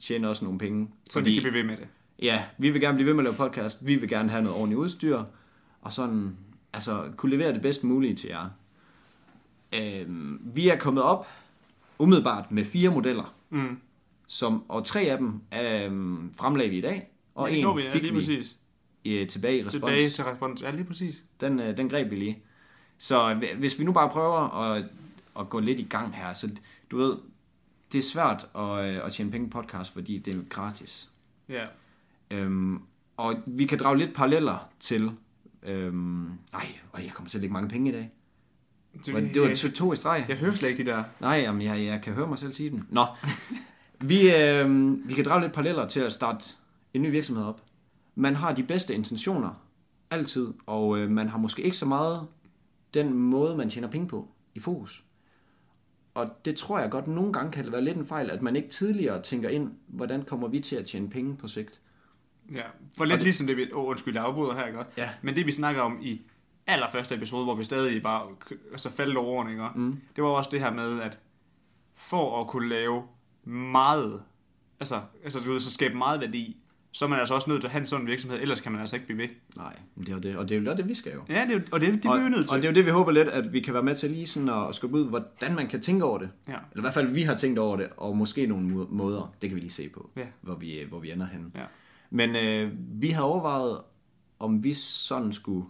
[SPEAKER 2] tjene også nogle penge.
[SPEAKER 1] Så Fordi... vi kan blive ved med det.
[SPEAKER 2] ja, vi vil gerne blive ved med at lave podcast, vi vil gerne have noget ordentligt udstyr, og sådan, altså, kunne levere det bedst mulige til jer. Øhm, vi er kommet op, umiddelbart, med fire modeller,
[SPEAKER 1] Mm.
[SPEAKER 2] som, og tre af dem øhm, fremlagde vi i dag, og
[SPEAKER 1] Ja, det
[SPEAKER 2] en
[SPEAKER 1] gjorde vi, ja,
[SPEAKER 2] fik
[SPEAKER 1] lige
[SPEAKER 2] vi
[SPEAKER 1] præcis.
[SPEAKER 2] øh, tilbage i respons.
[SPEAKER 1] Tilbage til respons. Ja, lige præcis.
[SPEAKER 2] Den, øh, den greb vi lige. Så hv- hvis vi nu bare prøver at, at gå lidt i gang her, så du ved, det er svært at, øh, at tjene penge på podcast, fordi det er gratis.
[SPEAKER 1] Ja.
[SPEAKER 2] Øhm, og vi kan drage lidt paralleller til... Øhm, ej, øj, jeg kommer til at lægge mange penge i dag. Det var, det var to, to i streg.
[SPEAKER 1] Jeg hører slet ikke de der...
[SPEAKER 2] Nej, jamen, jeg, jeg kan høre mig selv sige den.
[SPEAKER 1] (laughs)
[SPEAKER 2] Nå, vi, øh, vi kan drage lidt paralleller til at starte en ny virksomhed op. Man har de bedste intentioner, altid, og øh, man har måske ikke så meget den måde, man tjener penge på i fokus. Og det tror jeg godt, nogle gange kan det være lidt en fejl, at man ikke tidligere tænker ind, hvordan kommer vi til at tjene penge på sigt.
[SPEAKER 1] Ja, for lidt det, ligesom det, vi... Åh, oh, undskyld, jeg afbryder her, ikke?
[SPEAKER 2] Ja.
[SPEAKER 1] Men det, vi snakker om i allerførste episode, hvor vi stadig bare k- altså, faldt over ordene, ikke?
[SPEAKER 2] Mm.
[SPEAKER 1] Det var også det her med, at for at kunne lave meget, altså, altså du ved, så skabe meget værdi, så er man altså også nødt til at have en sådan virksomhed, ellers kan man altså ikke blive ved.
[SPEAKER 2] Nej, men det er jo det, og det er jo det, vi skal jo.
[SPEAKER 1] Ja, det, er jo- og det, det
[SPEAKER 2] og,
[SPEAKER 1] bliver vi nødt til.
[SPEAKER 2] og det er jo det, vi håber lidt, at vi kan være med til lige sådan at, at skubbe ud, hvordan man kan tænke over det.
[SPEAKER 1] Ja.
[SPEAKER 2] Eller i hvert fald, vi har tænkt over det, og måske nogle må- måder, det kan vi lige se på,
[SPEAKER 1] Ja.
[SPEAKER 2] hvor, vi, hvor vi ender henne.
[SPEAKER 1] Ja.
[SPEAKER 2] Men øh, vi har overvejet, om vi sådan skulle,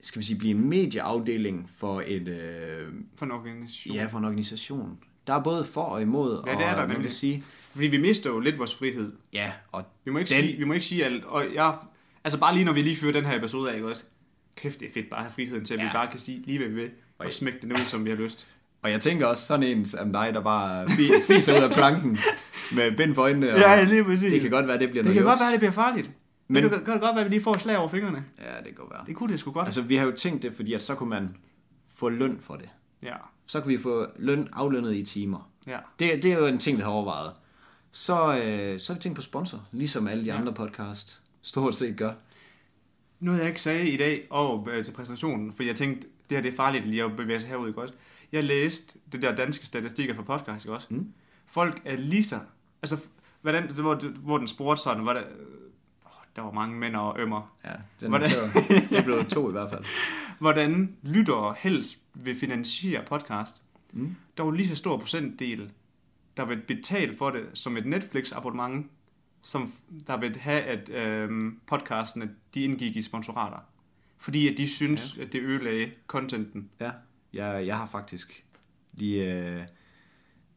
[SPEAKER 2] skal vi sige, blive en medieafdeling for et, øh,
[SPEAKER 1] For en organisation.
[SPEAKER 2] ja, for en organisation. Der er både for og imod,
[SPEAKER 1] Ja,
[SPEAKER 2] og
[SPEAKER 1] det er der
[SPEAKER 2] man kan
[SPEAKER 1] nemlig.
[SPEAKER 2] sige,
[SPEAKER 1] Fordi vi mister jo lidt vores frihed.
[SPEAKER 2] ja, og
[SPEAKER 1] Vi må ikke,
[SPEAKER 2] Den-
[SPEAKER 1] sige, vi må ikke sige alt. Og jeg, altså bare lige når vi lige fører den her episode af, ikke også? Kæft, det er fedt bare at have friheden til, at ja. vi
[SPEAKER 2] Ja.
[SPEAKER 1] bare kan sige lige hvad vi vil, og
[SPEAKER 2] Og-
[SPEAKER 1] smække det ud, som vi har lyst.
[SPEAKER 2] Og jeg tænker også sådan en som dig, der bare fi- fiser ud af planken med bind for øjnene. Og
[SPEAKER 1] Ja, lige præcis.
[SPEAKER 2] Det kan godt være, det (laughs) bliver
[SPEAKER 1] Det kan godt
[SPEAKER 2] noget juks.
[SPEAKER 1] være, det bliver farligt. Men
[SPEAKER 2] Men-
[SPEAKER 1] det kan godt godt være, at vi lige får et slag over fingrene.
[SPEAKER 2] Ja, det kan godt være.
[SPEAKER 1] Det kunne det sgu godt.
[SPEAKER 2] Altså, vi har jo tænkt det, fordi at så kunne man få løn for det.
[SPEAKER 1] Ja,
[SPEAKER 2] Så kunne vi få løn aflønnet i timer.
[SPEAKER 1] ja.
[SPEAKER 2] Det, det er jo en ting, vi har overvejet. Så, øh, så har vi tænkt på sponsor, ligesom alle de andre podcast stort set gør.
[SPEAKER 1] Noget jeg ikke sagde i dag og øh, til præsentationen, for jeg tænkte, det her det er farligt lige at bevæge sig herud, ikke også? Jeg læste det der danske statistikker fra podcast, ikke også?
[SPEAKER 2] Mm.
[SPEAKER 1] Folk er lige så... Altså, f- hvordan, hvor, hvor den spurgte sådan, hvordan, øh, åh, der var mange mænd og ømmer.
[SPEAKER 2] Ja, den
[SPEAKER 1] Hvordan-
[SPEAKER 2] noteret. det blev to i hvert fald.
[SPEAKER 1] Hvordan lyttere helst vil finansiere podcast.
[SPEAKER 2] Mm.
[SPEAKER 1] Der var lige så stor procentdel, der vil betale for det som et Netflix-abonnement, som f- der vil have, at øh, podcastene de indgik i sponsorater. Fordi at de synes, ja. at det ødelagde contenten.
[SPEAKER 2] Ja, jeg, jeg har faktisk lige... Øh,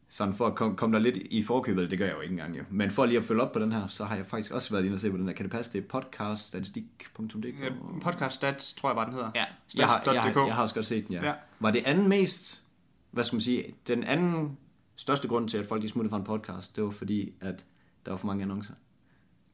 [SPEAKER 2] sådan for at komme kom der lidt i forkøbet, det gør jeg jo ikke engang jo. Men for lige at følge op på den her, så har jeg faktisk også været inde og se på den her. Kan det passe? Det er podcaststatistik.dk.
[SPEAKER 1] Ja, Øh, podcast stats, tror jeg bare, den hedder.
[SPEAKER 2] Ja, jeg har, jeg,
[SPEAKER 1] Stats.dk.
[SPEAKER 2] har, jeg har også godt set den, ja.
[SPEAKER 1] Ja.
[SPEAKER 2] ja. Var det anden mest, hvad skal man sige, den anden største grund til, at folk de smuttede fra en podcast, det var fordi, at der var for mange annoncer.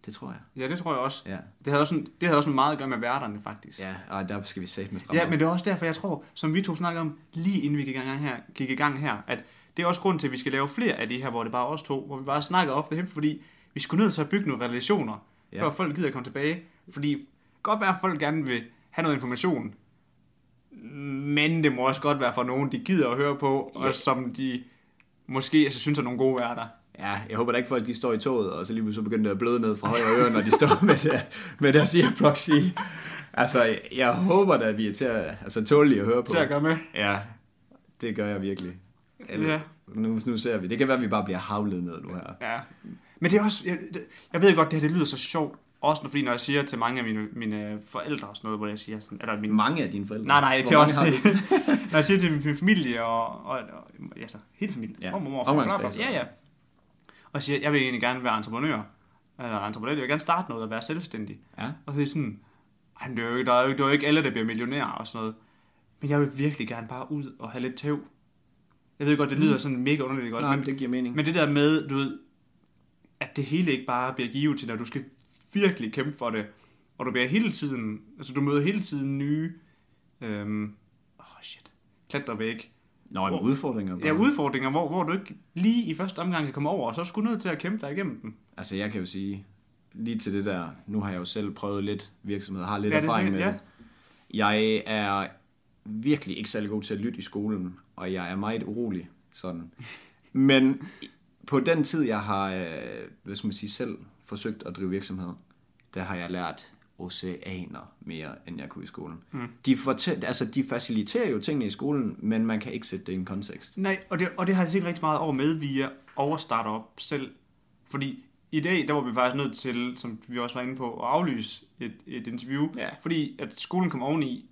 [SPEAKER 2] Det tror jeg.
[SPEAKER 1] Ja, det tror jeg også.
[SPEAKER 2] Ja,
[SPEAKER 1] Det havde også, en- det havde også meget at gøre med værterne, faktisk.
[SPEAKER 2] ja og der skal vi sætte med stramme.
[SPEAKER 1] Ja, men det er også derfor, jeg tror, som vi to snakkede om, lige inden vi gik i gang her, gik i gang her at det er også grund til, at vi skal lave flere af de her, hvor det bare er os to, hvor vi bare snakker ofte hen, fordi vi skulle nødt til at bygge nogle relationer, ja.
[SPEAKER 2] Ja.
[SPEAKER 1] før folk gider komme tilbage. Fordi godt være, at folk gerne vil have noget information, men det må også godt være for nogen, de gider at høre på, ja.
[SPEAKER 2] Ja.
[SPEAKER 1] og som de måske altså, synes er nogle gode værter.
[SPEAKER 2] Ja, jeg håber da ikke, folk de står i toget, og så lige så begynder at bløde ned fra højre øre, når de står (laughs) med, der, med deres earplugs i. Altså, jeg- jeg håber da, at vi er til at, altså, tålige at høre på.
[SPEAKER 1] Til at gøre med.
[SPEAKER 2] Ja, det gør jeg virkelig.
[SPEAKER 1] Ja.
[SPEAKER 2] Nu, nu ser vi. Det kan være, at vi bare bliver havlet ned nu her.
[SPEAKER 1] Ja. Men det er også, jeg, det- jeg ved godt, det her det lyder så sjovt, også når- fordi når jeg siger til mange af mine, mine forældre og sådan noget, hvor jeg siger sådan, eller mine,
[SPEAKER 2] Mange af dine forældre.
[SPEAKER 1] nej nej, det
[SPEAKER 2] Hvor
[SPEAKER 1] er
[SPEAKER 2] mange
[SPEAKER 1] også
[SPEAKER 2] har
[SPEAKER 1] det,
[SPEAKER 2] du?
[SPEAKER 1] når jeg siger til min, min familie og, og, og altså, hele familien,
[SPEAKER 2] Ja.
[SPEAKER 1] ja. mor, mor, far, bla, bla, bla. ja
[SPEAKER 2] Omgangskreds.
[SPEAKER 1] ja, og jeg siger, jeg vil egentlig gerne være entreprenør, eller entreprenør, jeg vil gerne starte noget og være selvstændig,
[SPEAKER 2] Ja.
[SPEAKER 1] og så er de sådan, ej, men det er jo ikke, der er jo, ikke- det er jo ikke alle, der bliver millionærer og sådan noget, men jeg vil virkelig gerne bare ud og have lidt tæv. Jeg ved godt, det lyder sådan mega underligt godt,
[SPEAKER 2] Mm. Nej, men det giver mening.
[SPEAKER 1] Men det der med, du ved, at det hele ikke bare bliver givet til dig, du skal virkelig kæmpe for det, og du bliver hele tiden, altså du møder hele tiden nye, øhm, oh shit, klatrevæg,
[SPEAKER 2] Nå, men
[SPEAKER 1] Hvor-
[SPEAKER 2] udfordringer. Bare.
[SPEAKER 1] ja, udfordringer, hvor, hvor du ikke lige i første omgang kan komme over, og så er du sgu nødt til at kæmpe dig igennem dem.
[SPEAKER 2] Altså, jeg kan jo sige, lige til det der, nu har jeg jo selv prøvet lidt virksomhed, har lidt
[SPEAKER 1] Ja,
[SPEAKER 2] ja,
[SPEAKER 1] det er
[SPEAKER 2] erfaring med
[SPEAKER 1] sikkert,
[SPEAKER 2] det. Jeg er virkelig ikke særlig god til at lytte i skolen, og jeg er meget urolig, sådan. Men på den tid, jeg har, øh, hvad skal man sige, selv forsøgt at drive virksomhed, der har jeg lært oceaner mere, end jeg kunne i skolen. Mm. De, fortæl, altså, de faciliterer jo tingene i skolen, men man kan ikke sætte det i en kontekst.
[SPEAKER 1] Nej, og det, og det har jeg tænkt rigtig meget over med via overstarter op selv. Fordi i dag, der var vi faktisk nødt til, som vi også var inde på, at aflyse et, et interview.
[SPEAKER 2] Ja.
[SPEAKER 1] Fordi at skolen kom oveni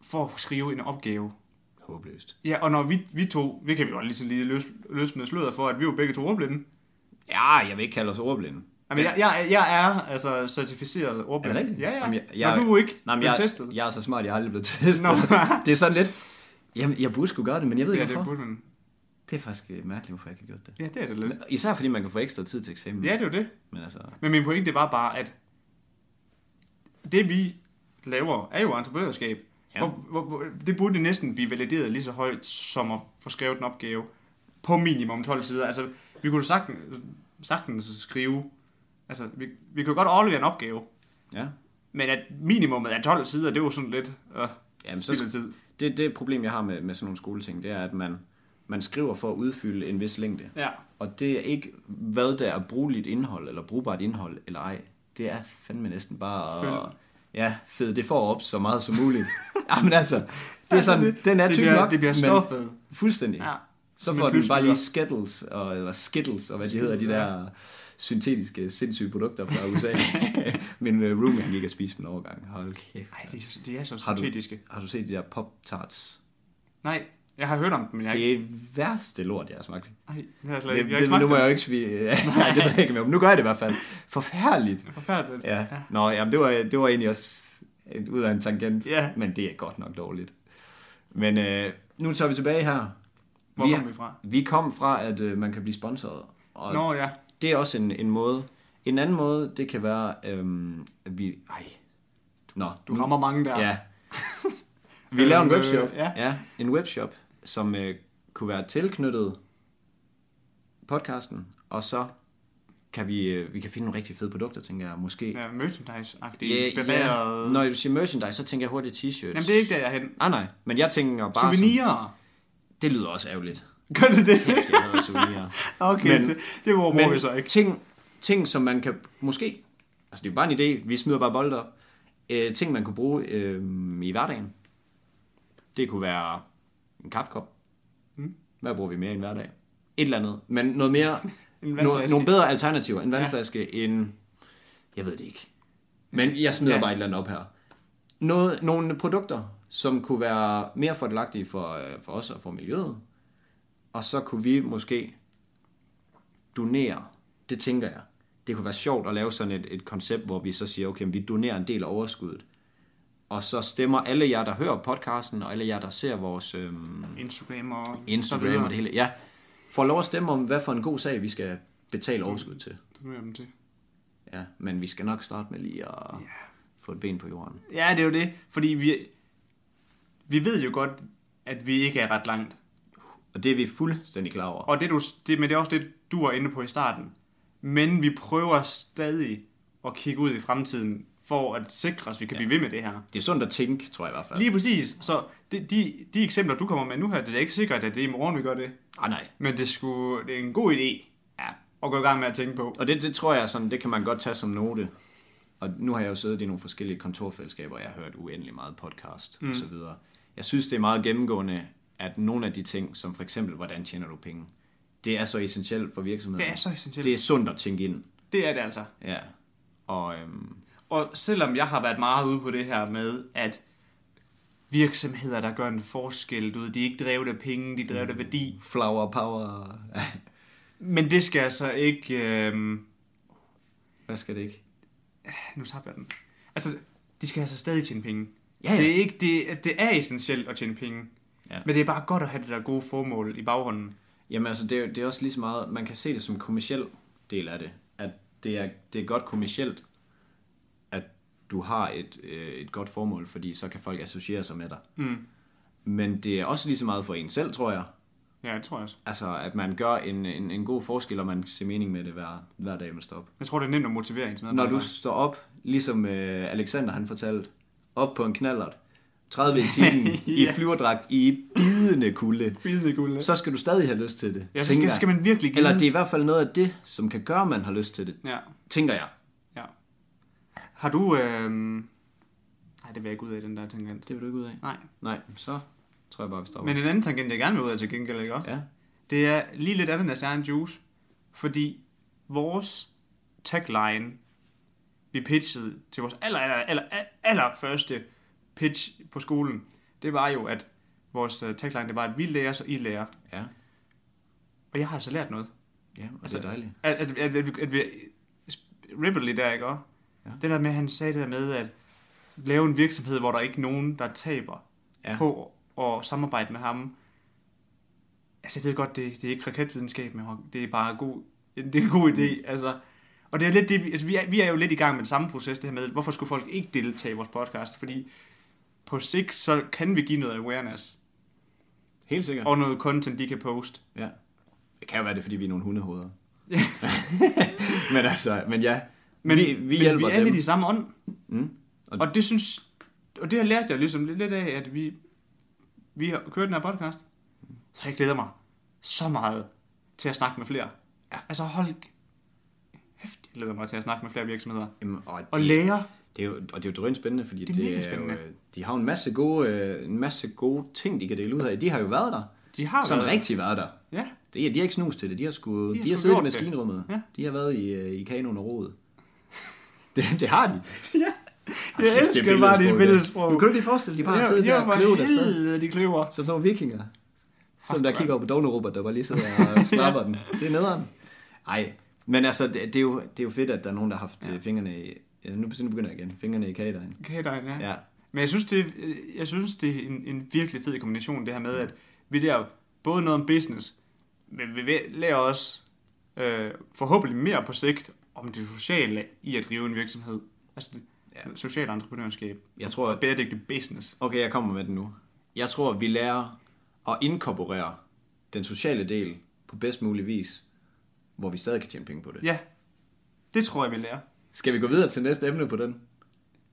[SPEAKER 1] for at skrive en opgave.
[SPEAKER 2] Håbløst.
[SPEAKER 1] Ja, og når vi, vi to, vi kan vi godt lige så lige løs, løsne sløret for, at vi var begge to ordblinde.
[SPEAKER 2] Ja, jeg vil ikke kalde os ordblinde.
[SPEAKER 1] Jamen, jeg, jeg, jeg er altså certificeret ordblind.
[SPEAKER 2] Er det rigtigt?
[SPEAKER 1] Ja, ja.
[SPEAKER 2] Jamen, jeg-
[SPEAKER 1] Jamen, jeg,
[SPEAKER 2] jeg-
[SPEAKER 1] Når du er ikke
[SPEAKER 2] Nej, men
[SPEAKER 1] jeg,
[SPEAKER 2] jeg,
[SPEAKER 1] testet.
[SPEAKER 2] jeg er så smart, jeg har aldrig blevet testet.
[SPEAKER 1] Nå.
[SPEAKER 2] (laughs) det er sådan lidt... Jamen, jeg burde skulle gøre det, men jeg ved
[SPEAKER 1] ja,
[SPEAKER 2] ikke,
[SPEAKER 1] det
[SPEAKER 2] hvorfor. Det,
[SPEAKER 1] burde man.
[SPEAKER 2] det er faktisk øh, mærkeligt, hvorfor jeg ikke har gjort det.
[SPEAKER 1] Ja, det er det lidt.
[SPEAKER 2] Især fordi man kan få ekstra tid til eksamen.
[SPEAKER 1] Ja, det er jo det.
[SPEAKER 2] Men altså,
[SPEAKER 1] Men min pointe, det var bare, at det vi laver, er jo entreprenørskab.
[SPEAKER 2] Ja.
[SPEAKER 1] Ja. Hvor, hvor, hvor, det burde næsten blive valideret lige så højt, som at få skrevet en opgave på minimum 12 sider. Altså, vi kunne sagtens, sagtens skrive, altså, vi, vi kunne godt aflevere en opgave,
[SPEAKER 2] ja.
[SPEAKER 1] men at minimumet er 12 sider, det er jo sådan lidt øh,
[SPEAKER 2] Jamen, så,
[SPEAKER 1] spild af tid.
[SPEAKER 2] det, det problem, jeg har med, med sådan nogle skoleting, det er, at man, man skriver for at udfylde en vis længde.
[SPEAKER 1] Ja.
[SPEAKER 2] Og det er ikke, hvad der er brugeligt indhold, eller brugbart indhold, eller ej. Det er fandme næsten bare... At, ja, fed det får op så meget som
[SPEAKER 1] (laughs)
[SPEAKER 2] muligt. Jamen altså, det er sådan, den er
[SPEAKER 1] det
[SPEAKER 2] tyk
[SPEAKER 1] bliver,
[SPEAKER 2] nok,
[SPEAKER 1] Det bliver
[SPEAKER 2] men
[SPEAKER 1] stoffet.
[SPEAKER 2] fuldstændig.
[SPEAKER 1] Ja.
[SPEAKER 2] Så
[SPEAKER 1] Som en
[SPEAKER 2] får den bare
[SPEAKER 1] plystrykker.
[SPEAKER 2] lige Skittles, og, eller Skittles, og hvad de hedder, de
[SPEAKER 1] Skittles,
[SPEAKER 2] der syntetiske, sindssyge produkter fra USA.
[SPEAKER 1] (laughs)
[SPEAKER 2] Min øh, roomie, han gik og spiste min overgang. Hold kæft.
[SPEAKER 1] Ej, de, er så- de er så
[SPEAKER 2] Har du-
[SPEAKER 1] syntetiske.
[SPEAKER 2] Har du set de der Pop-Tarts?
[SPEAKER 1] Nej, jeg har hørt om dem, men jeg, det,
[SPEAKER 2] Det er værste lort, jeg har smagt.
[SPEAKER 1] ej, det har jeg slet
[SPEAKER 2] Det,
[SPEAKER 1] ikke. Jeg har ikke
[SPEAKER 2] det, nu
[SPEAKER 1] smagt
[SPEAKER 2] må
[SPEAKER 1] dem.
[SPEAKER 2] jeg jo ikke svige. (laughs) Nej, det ved jeg ikke mere om. Nu gør jeg det i hvert fald. Forfærdeligt.
[SPEAKER 1] Forfærdeligt.
[SPEAKER 2] Ja. Nå, jamen, det, var, det var egentlig også et, ud af en tangent.
[SPEAKER 1] Ja.
[SPEAKER 2] Men det er godt nok dårligt. Men øh, nu tager vi tilbage her.
[SPEAKER 1] Hvor
[SPEAKER 2] vi,
[SPEAKER 1] kom vi fra?
[SPEAKER 2] vi kom fra, at øh, man kan blive sponsoreret. Og
[SPEAKER 1] Nå ja,
[SPEAKER 2] det er også en, en måde. En anden måde, det kan være, øhm, at vi... Ej. Nå,
[SPEAKER 1] du rammer mange der.
[SPEAKER 2] Ja. Vi laver en
[SPEAKER 1] Øh,
[SPEAKER 2] webshop.
[SPEAKER 1] ja.
[SPEAKER 2] ja. En webshop, som øh, kunne være tilknyttet podcasten, og så kan vi, øh, vi kan finde nogle rigtig fede produkter, tænker jeg, måske.
[SPEAKER 1] ja merchandise-agtigt
[SPEAKER 2] Ja,
[SPEAKER 1] inspireret.
[SPEAKER 2] ja. Når du siger merchandise, så tænker jeg hurtigt t-shirts. Ah,
[SPEAKER 1] Jamen, det er ikke der, jeg er hen.
[SPEAKER 2] Nej, nej, men jeg tænker bare...
[SPEAKER 1] Souvenirer.
[SPEAKER 2] Sådan, det lyder også ærgerligt.
[SPEAKER 1] Gør det det?
[SPEAKER 2] Kæft, jeg hader souvenirer.
[SPEAKER 1] (laughs) Okay,
[SPEAKER 2] Men-
[SPEAKER 1] det, det overbruger vi så ikke.
[SPEAKER 2] ting, ting, som man kan måske... Altså, det er jo bare en idé. Vi smider bare bolde op. Øh, ting, man kunne bruge øh, i hverdagen. Det kunne være en kaffekop.
[SPEAKER 1] Mm.
[SPEAKER 2] Hvad bruger vi mere i en hverdag? Et eller andet. Men noget mere...
[SPEAKER 1] (laughs) En
[SPEAKER 2] no,
[SPEAKER 1] vandflaske.
[SPEAKER 2] nogle bedre alternativer. En vandflaske, ja. en... Jeg ved det ikke. Men jeg smider
[SPEAKER 1] Ja.
[SPEAKER 2] ja. bare et eller andet op her. Noget, nogle produkter, som kunne være mere fordelagtige for, øh, for os og for miljøet. Og så kunne vi måske donere, det tænker jeg. Det kunne være sjovt at lave sådan et, et koncept, hvor vi så siger, okay, men vi donerer en del af overskuddet. Og så stemmer alle jer, der hører podcasten, og alle jer, der ser vores øhm,
[SPEAKER 1] Instagram og så
[SPEAKER 2] Instagram
[SPEAKER 1] videre.
[SPEAKER 2] og det hele, ja, får lov at stemme om, hvad for en god sag, vi skal betale overskud til.
[SPEAKER 1] Det hører jeg dem til.
[SPEAKER 2] Ja, men vi skal nok starte med lige at yeah. få et ben på jorden.
[SPEAKER 1] Ja, det er jo det. Fordi vi, vi ved jo godt, at vi ikke er ret langt.
[SPEAKER 2] Og det er vi fuldstændig klar over.
[SPEAKER 1] Og det, du, det, men det er også det, du var inde på i starten. Men vi prøver stadig at kigge ud i fremtiden, for at sikre os, at vi kan blive ved med det her.
[SPEAKER 2] Det er sundt at tænke, tror jeg i hvert fald.
[SPEAKER 1] Lige præcis. Så de, de, de eksempler, du kommer med nu her, det er da ikke sikkert, at det er i morgen, vi gør det.
[SPEAKER 2] Ah, nej.
[SPEAKER 1] Men det, skulle, det er en god idé
[SPEAKER 2] Ja.
[SPEAKER 1] at gå i gang med at tænke på.
[SPEAKER 2] Og det, det tror jeg sådan, det kan man godt tage som note. Og nu har jeg jo siddet i nogle forskellige kontorfællesskaber, og jeg har hørt uendelig meget podcast mm. og så videre. Jeg synes, det er meget gennemgående, at nogle af de ting, som for eksempel, hvordan tjener du penge, det er så essentielt for virksomheden.
[SPEAKER 1] Det er så essentielt.
[SPEAKER 2] Det er sundt at tænke ind.
[SPEAKER 1] Det er det altså.
[SPEAKER 2] Ja. Og øhm,
[SPEAKER 1] Og selvom jeg har været meget ude på det her med, at virksomheder, der gør en forskel, du ved, de er ikke drevet af penge, de er drevet af værdi.
[SPEAKER 2] flower power. (laughs)
[SPEAKER 1] Men det skal altså ikke... Øh...
[SPEAKER 2] Hvad skal det ikke?
[SPEAKER 1] Nu tabte jeg den. Altså, de skal altså stadig tjene penge.
[SPEAKER 2] Ja, ja.
[SPEAKER 1] Det, er ikke, det, det er essentielt at tjene penge.
[SPEAKER 2] Ja.
[SPEAKER 1] Men det er bare godt at have det der gode formål i baghånden.
[SPEAKER 2] Jamen altså, det er, jo- det er også lige så meget, man kan se det som en kommersiel del af det. At det er, det er godt kommersielt, at du har et, øh, et godt formål, fordi så kan folk associere sig med dig.
[SPEAKER 1] Mm.
[SPEAKER 2] Men det er også lige så meget for en selv, tror jeg.
[SPEAKER 1] Ja, det tror jeg også.
[SPEAKER 2] Altså, at man gør en, en, en god forskel, og man ser mening med det hver, hver dag, man står op.
[SPEAKER 1] Jeg tror, det er nemt at motivere ens
[SPEAKER 2] Når du
[SPEAKER 1] medarbejdere.
[SPEAKER 2] står op, ligesom øh, Alexander han fortalte, op på en knallert, 30 i timen, i flyverdragt, i bidende kulde,
[SPEAKER 1] Bidende guld.
[SPEAKER 2] så skal du stadig have lyst til det.
[SPEAKER 1] Ja, så
[SPEAKER 2] tænker
[SPEAKER 1] skal,
[SPEAKER 2] jeg.
[SPEAKER 1] skal man virkelig give
[SPEAKER 2] Eller det er i hvert fald noget af det, som kan gøre, at man har lyst til det,
[SPEAKER 1] Ja,
[SPEAKER 2] tænker jeg.
[SPEAKER 1] ja. Har du... Øh... Nej, det vil jeg ikke ud af den der tangent.
[SPEAKER 2] Det vil du ikke ud af.
[SPEAKER 1] Nej.
[SPEAKER 2] Nej, så tror jeg bare, vi stopper.
[SPEAKER 1] Men en anden tangent, jeg gerne vil ud af til gengæld, ikke? også?
[SPEAKER 2] Ja,
[SPEAKER 1] Det er lige lidt ananas er en juice. Fordi vores tagline, vi pitchede til vores aller, aller, aller, aller første pitch på skolen, det var jo, at vores øh, tagline, det var, at vi lærer, så I lærer.
[SPEAKER 2] ja,
[SPEAKER 1] Og jeg har altså lært noget.
[SPEAKER 2] ja og altså,
[SPEAKER 1] Altså,
[SPEAKER 2] det er dejligt.
[SPEAKER 1] At, at, at, at, vi, at vi Ripley der, ikke også?
[SPEAKER 2] Ja.
[SPEAKER 1] Ja. Det der med, han sagde det der med, at lave en virksomhed, hvor der ikke er nogen, der taber
[SPEAKER 2] Ja.
[SPEAKER 1] ja. på at samarbejde med ham. Altså, jeg ved godt, det, det er ikke raketvidenskab, men det er bare god, det er en god
[SPEAKER 2] Mm.
[SPEAKER 1] idé. Altså, og det er lidt det, vi- altså, vi, er, vi er jo lidt i gang med den samme proces, det her med, hvorfor skulle folk ikke deltage i vores podcast? Fordi på sigt, så kan vi give noget awareness,
[SPEAKER 2] Helt sikkert.
[SPEAKER 1] og noget content, de kan poste.
[SPEAKER 2] Ja. Det kan jo være det, er, fordi vi er nogle hundehoveder. (laughs) men altså, men ja.
[SPEAKER 1] Men
[SPEAKER 2] vi, vi hjælper
[SPEAKER 1] vi er
[SPEAKER 2] dem.
[SPEAKER 1] lidt i samme ånd.
[SPEAKER 2] Mm. Og-
[SPEAKER 1] Og, og det synes... Og det har lært jeg ligesom lidt af, at vi, vi har kørt den her podcast. Så jeg glæder mig så meget til at snakke med flere. Ja. Altså hold... Hæft, jeg glæder mig til at snakke med flere virksomheder.
[SPEAKER 2] Jamen, og,
[SPEAKER 1] Og
[SPEAKER 2] det,
[SPEAKER 1] læger.
[SPEAKER 2] det, er jo, og det er jo drøn spændende, fordi
[SPEAKER 1] Det er
[SPEAKER 2] det er,
[SPEAKER 1] mega
[SPEAKER 2] det er jo,
[SPEAKER 1] spændende.
[SPEAKER 2] øh, de har jo en masse, gode, øh, en masse gode ting, de kan dele ud af. De har jo været der.
[SPEAKER 1] De har
[SPEAKER 2] Sådan
[SPEAKER 1] været-
[SPEAKER 2] rigtig været der.
[SPEAKER 1] Ja,
[SPEAKER 2] Det er, de har ikke snus til det. De har, sgu, de
[SPEAKER 1] har
[SPEAKER 2] har, de har
[SPEAKER 1] sgu
[SPEAKER 2] siddet i
[SPEAKER 1] gjort det.
[SPEAKER 2] maskinrummet. Ja.
[SPEAKER 1] Ja.
[SPEAKER 2] De har været i, øh, i kanon og rodet. (laughs) Det, det har de.
[SPEAKER 1] jeg
[SPEAKER 2] Kæft,
[SPEAKER 1] elsker det bare dit
[SPEAKER 2] billedsprog, det.
[SPEAKER 1] billedsprog.
[SPEAKER 2] Men kan du ikke lige forestille dig, de bare
[SPEAKER 1] Ja,
[SPEAKER 2] har siddet
[SPEAKER 1] ja,
[SPEAKER 2] der og
[SPEAKER 1] hvor
[SPEAKER 2] kløvet afsted?
[SPEAKER 1] helvede, de kløver.
[SPEAKER 2] Som sådan nogle vikinger. Som der
[SPEAKER 1] mand.
[SPEAKER 2] kigger over på dogne Robert, der bare lige sidder (laughs) og snapper den. Det er nederen. Ej, men altså, det, det, er jo, det er jo fedt, at der er nogen, der har haft ja. fingrene i... Ja, nu nu begynder jeg igen. Fingrene i kagedøjen.
[SPEAKER 1] Kadejen, ja.
[SPEAKER 2] Ja.
[SPEAKER 1] Men jeg synes, det, øh, jeg synes, det er en, en virkelig fed kombination, det her med, at vi lærer både noget om business, men vi lærer også øh, forhåbentlig mere på sigt om det sociale i at drive en virksomhed. Altså det
[SPEAKER 2] Ja.
[SPEAKER 1] ja. sociale entreprenørskab.
[SPEAKER 2] Jeg tror,
[SPEAKER 1] Og
[SPEAKER 2] at...
[SPEAKER 1] bæredygtig business.
[SPEAKER 2] Okay, jeg kommer med den nu. Jeg tror, at vi lærer at inkorporere den sociale del på bedst mulig vis, hvor vi stadig kan tjene penge på det.
[SPEAKER 1] Ja, det tror jeg, vi lærer.
[SPEAKER 2] Skal vi gå videre til næste emne på den?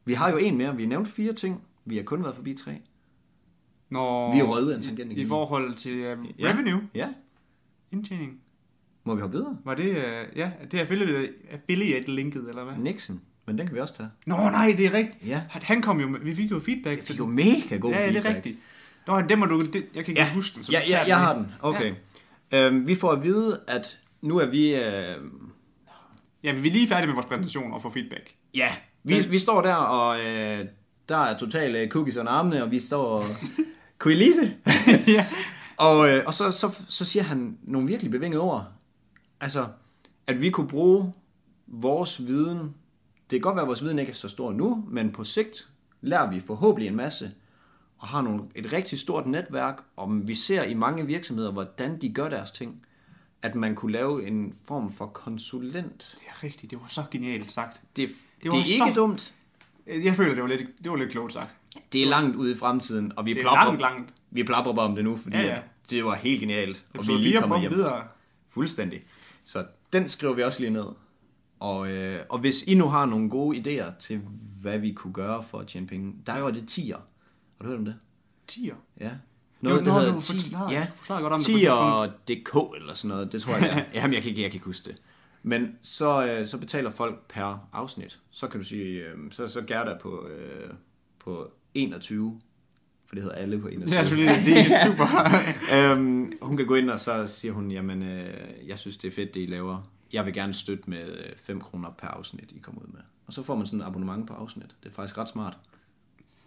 [SPEAKER 2] Vi har jo en mere. Vi har nævnt fire ting. Vi har kun været forbi tre.
[SPEAKER 1] Når,
[SPEAKER 2] Vi er røget af en tangent
[SPEAKER 1] i,
[SPEAKER 2] igen.
[SPEAKER 1] I forhold til øh, revenue,
[SPEAKER 2] Ja.
[SPEAKER 1] indtjening.
[SPEAKER 2] Må vi hoppe videre?
[SPEAKER 1] Var det, øh, ja, det er affiliate, affiliate linket, eller hvad?
[SPEAKER 2] Nixon. Men den kan vi også tage.
[SPEAKER 1] Nå nej, det er rigtigt.
[SPEAKER 2] Ja.
[SPEAKER 1] Han kom jo, med- vi fik jo feedback.
[SPEAKER 2] Det er jo mega god
[SPEAKER 1] ja, ja,
[SPEAKER 2] feedback.
[SPEAKER 1] det er rigtigt. Nå, den må du... Det, jeg kan ikke
[SPEAKER 2] Ja,
[SPEAKER 1] huske den.
[SPEAKER 2] ja,
[SPEAKER 1] du
[SPEAKER 2] ja
[SPEAKER 1] tager den.
[SPEAKER 2] jeg har den. Okay. Ja. Øhm, vi får at vide, at nu er vi... Øh,
[SPEAKER 1] Ja, men vi er lige færdige med vores præsentation og får feedback.
[SPEAKER 2] ja, vi, vi står der, og øh, der er totalt øh, cookies under armene, og vi står og... (laughs) Kunne I lide (laughs) det?
[SPEAKER 1] ja.
[SPEAKER 2] Og, øh, og så, så, så siger han nogle virkelig bevingede ord. Altså, at vi kunne bruge vores viden. Det kan godt være, at vores viden ikke er så stor nu, men på sigt lærer vi forhåbentlig en masse, og har nogle, et rigtig stort netværk, og vi ser i mange virksomheder, hvordan de gør deres ting, at man kunne lave en form for konsulent.
[SPEAKER 1] Det er rigtigt, det var så genialt sagt.
[SPEAKER 2] Det, det, det
[SPEAKER 1] var
[SPEAKER 2] er ikke så...
[SPEAKER 1] så-
[SPEAKER 2] dumt.
[SPEAKER 1] Jeg føler, det var lidt, det var lidt klogt sagt.
[SPEAKER 2] Det er langt ude i fremtiden, og vi
[SPEAKER 1] Det er
[SPEAKER 2] plaprer,
[SPEAKER 1] langt, langt.
[SPEAKER 2] vi plaprer bare om det nu, fordi ja,
[SPEAKER 1] Ja,
[SPEAKER 2] ja.
[SPEAKER 1] ja.
[SPEAKER 2] At det var helt genialt, og vi
[SPEAKER 1] Episode
[SPEAKER 2] er
[SPEAKER 1] 4
[SPEAKER 2] lige
[SPEAKER 1] på
[SPEAKER 2] kommet hjem.
[SPEAKER 1] videre.
[SPEAKER 2] Fuldstændig. Så den skriver vi også lige ned. Og, øh, og hvis I nu har nogle gode idéer til, hvad vi kunne gøre for at tjene penge, der er jo det tier. Har du hørt om det?
[SPEAKER 1] 10'er.
[SPEAKER 2] Ja.
[SPEAKER 1] noget,
[SPEAKER 2] der
[SPEAKER 1] du
[SPEAKER 2] hedder
[SPEAKER 1] forklarede-
[SPEAKER 2] ja,
[SPEAKER 1] forklarede godt om det på et
[SPEAKER 2] tier.dk eller sådan noget, det tror jeg,
[SPEAKER 1] (laughs)
[SPEAKER 2] det er. Jamen, jeg kan, ikke, jeg kan ikke huske det. Men så, øh, så betaler folk per afsnit. Så kan du sige, øh, så, så Gerda på, øh, på 21, for det hedder alle på 21
[SPEAKER 1] Det er selvfølgelig det er super.
[SPEAKER 2] (laughs) øhm, hun kan gå ind, og så siger hun, jamen, øh, jeg synes, det er fedt, det I laver. Jeg vil gerne støtte med øh, 5 kroner per afsnit, I kommer ud med. Og så får man sådan en abonnement på afsnit. Det er faktisk ret smart.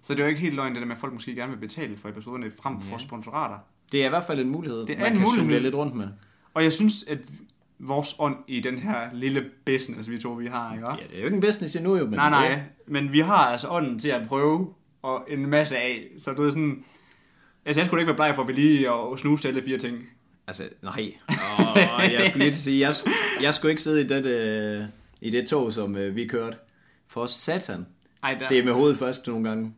[SPEAKER 1] Så det er jo ikke helt løgn, det der med, at folk måske gerne vil betale for episoderne frem for sponsorater.
[SPEAKER 2] Det er i hvert fald en mulighed,
[SPEAKER 1] Det er
[SPEAKER 2] man
[SPEAKER 1] en
[SPEAKER 2] kan
[SPEAKER 1] mulighed.
[SPEAKER 2] jonglere lidt rundt med.
[SPEAKER 1] Og jeg synes, at vores ånd i den her lille business, vi to vi har, ikke?
[SPEAKER 2] Ja, det er jo ikke en business endnu, jo, men
[SPEAKER 1] Ah. Nej,
[SPEAKER 2] Det,
[SPEAKER 1] nej, men vi har altså ånden til at prøve og en masse af, så du er sådan... Altså, jeg skulle da ikke være bleg for, at vi lige og snuse til alle fire ting.
[SPEAKER 2] altså, nej. Åh, jeg skulle lige til at sige, jeg, jeg skulle ikke sidde i det, øh, i det tog, som øh, vi kørte. For satan.
[SPEAKER 1] Ej, der...
[SPEAKER 2] Det er med hovedet først nogle gange.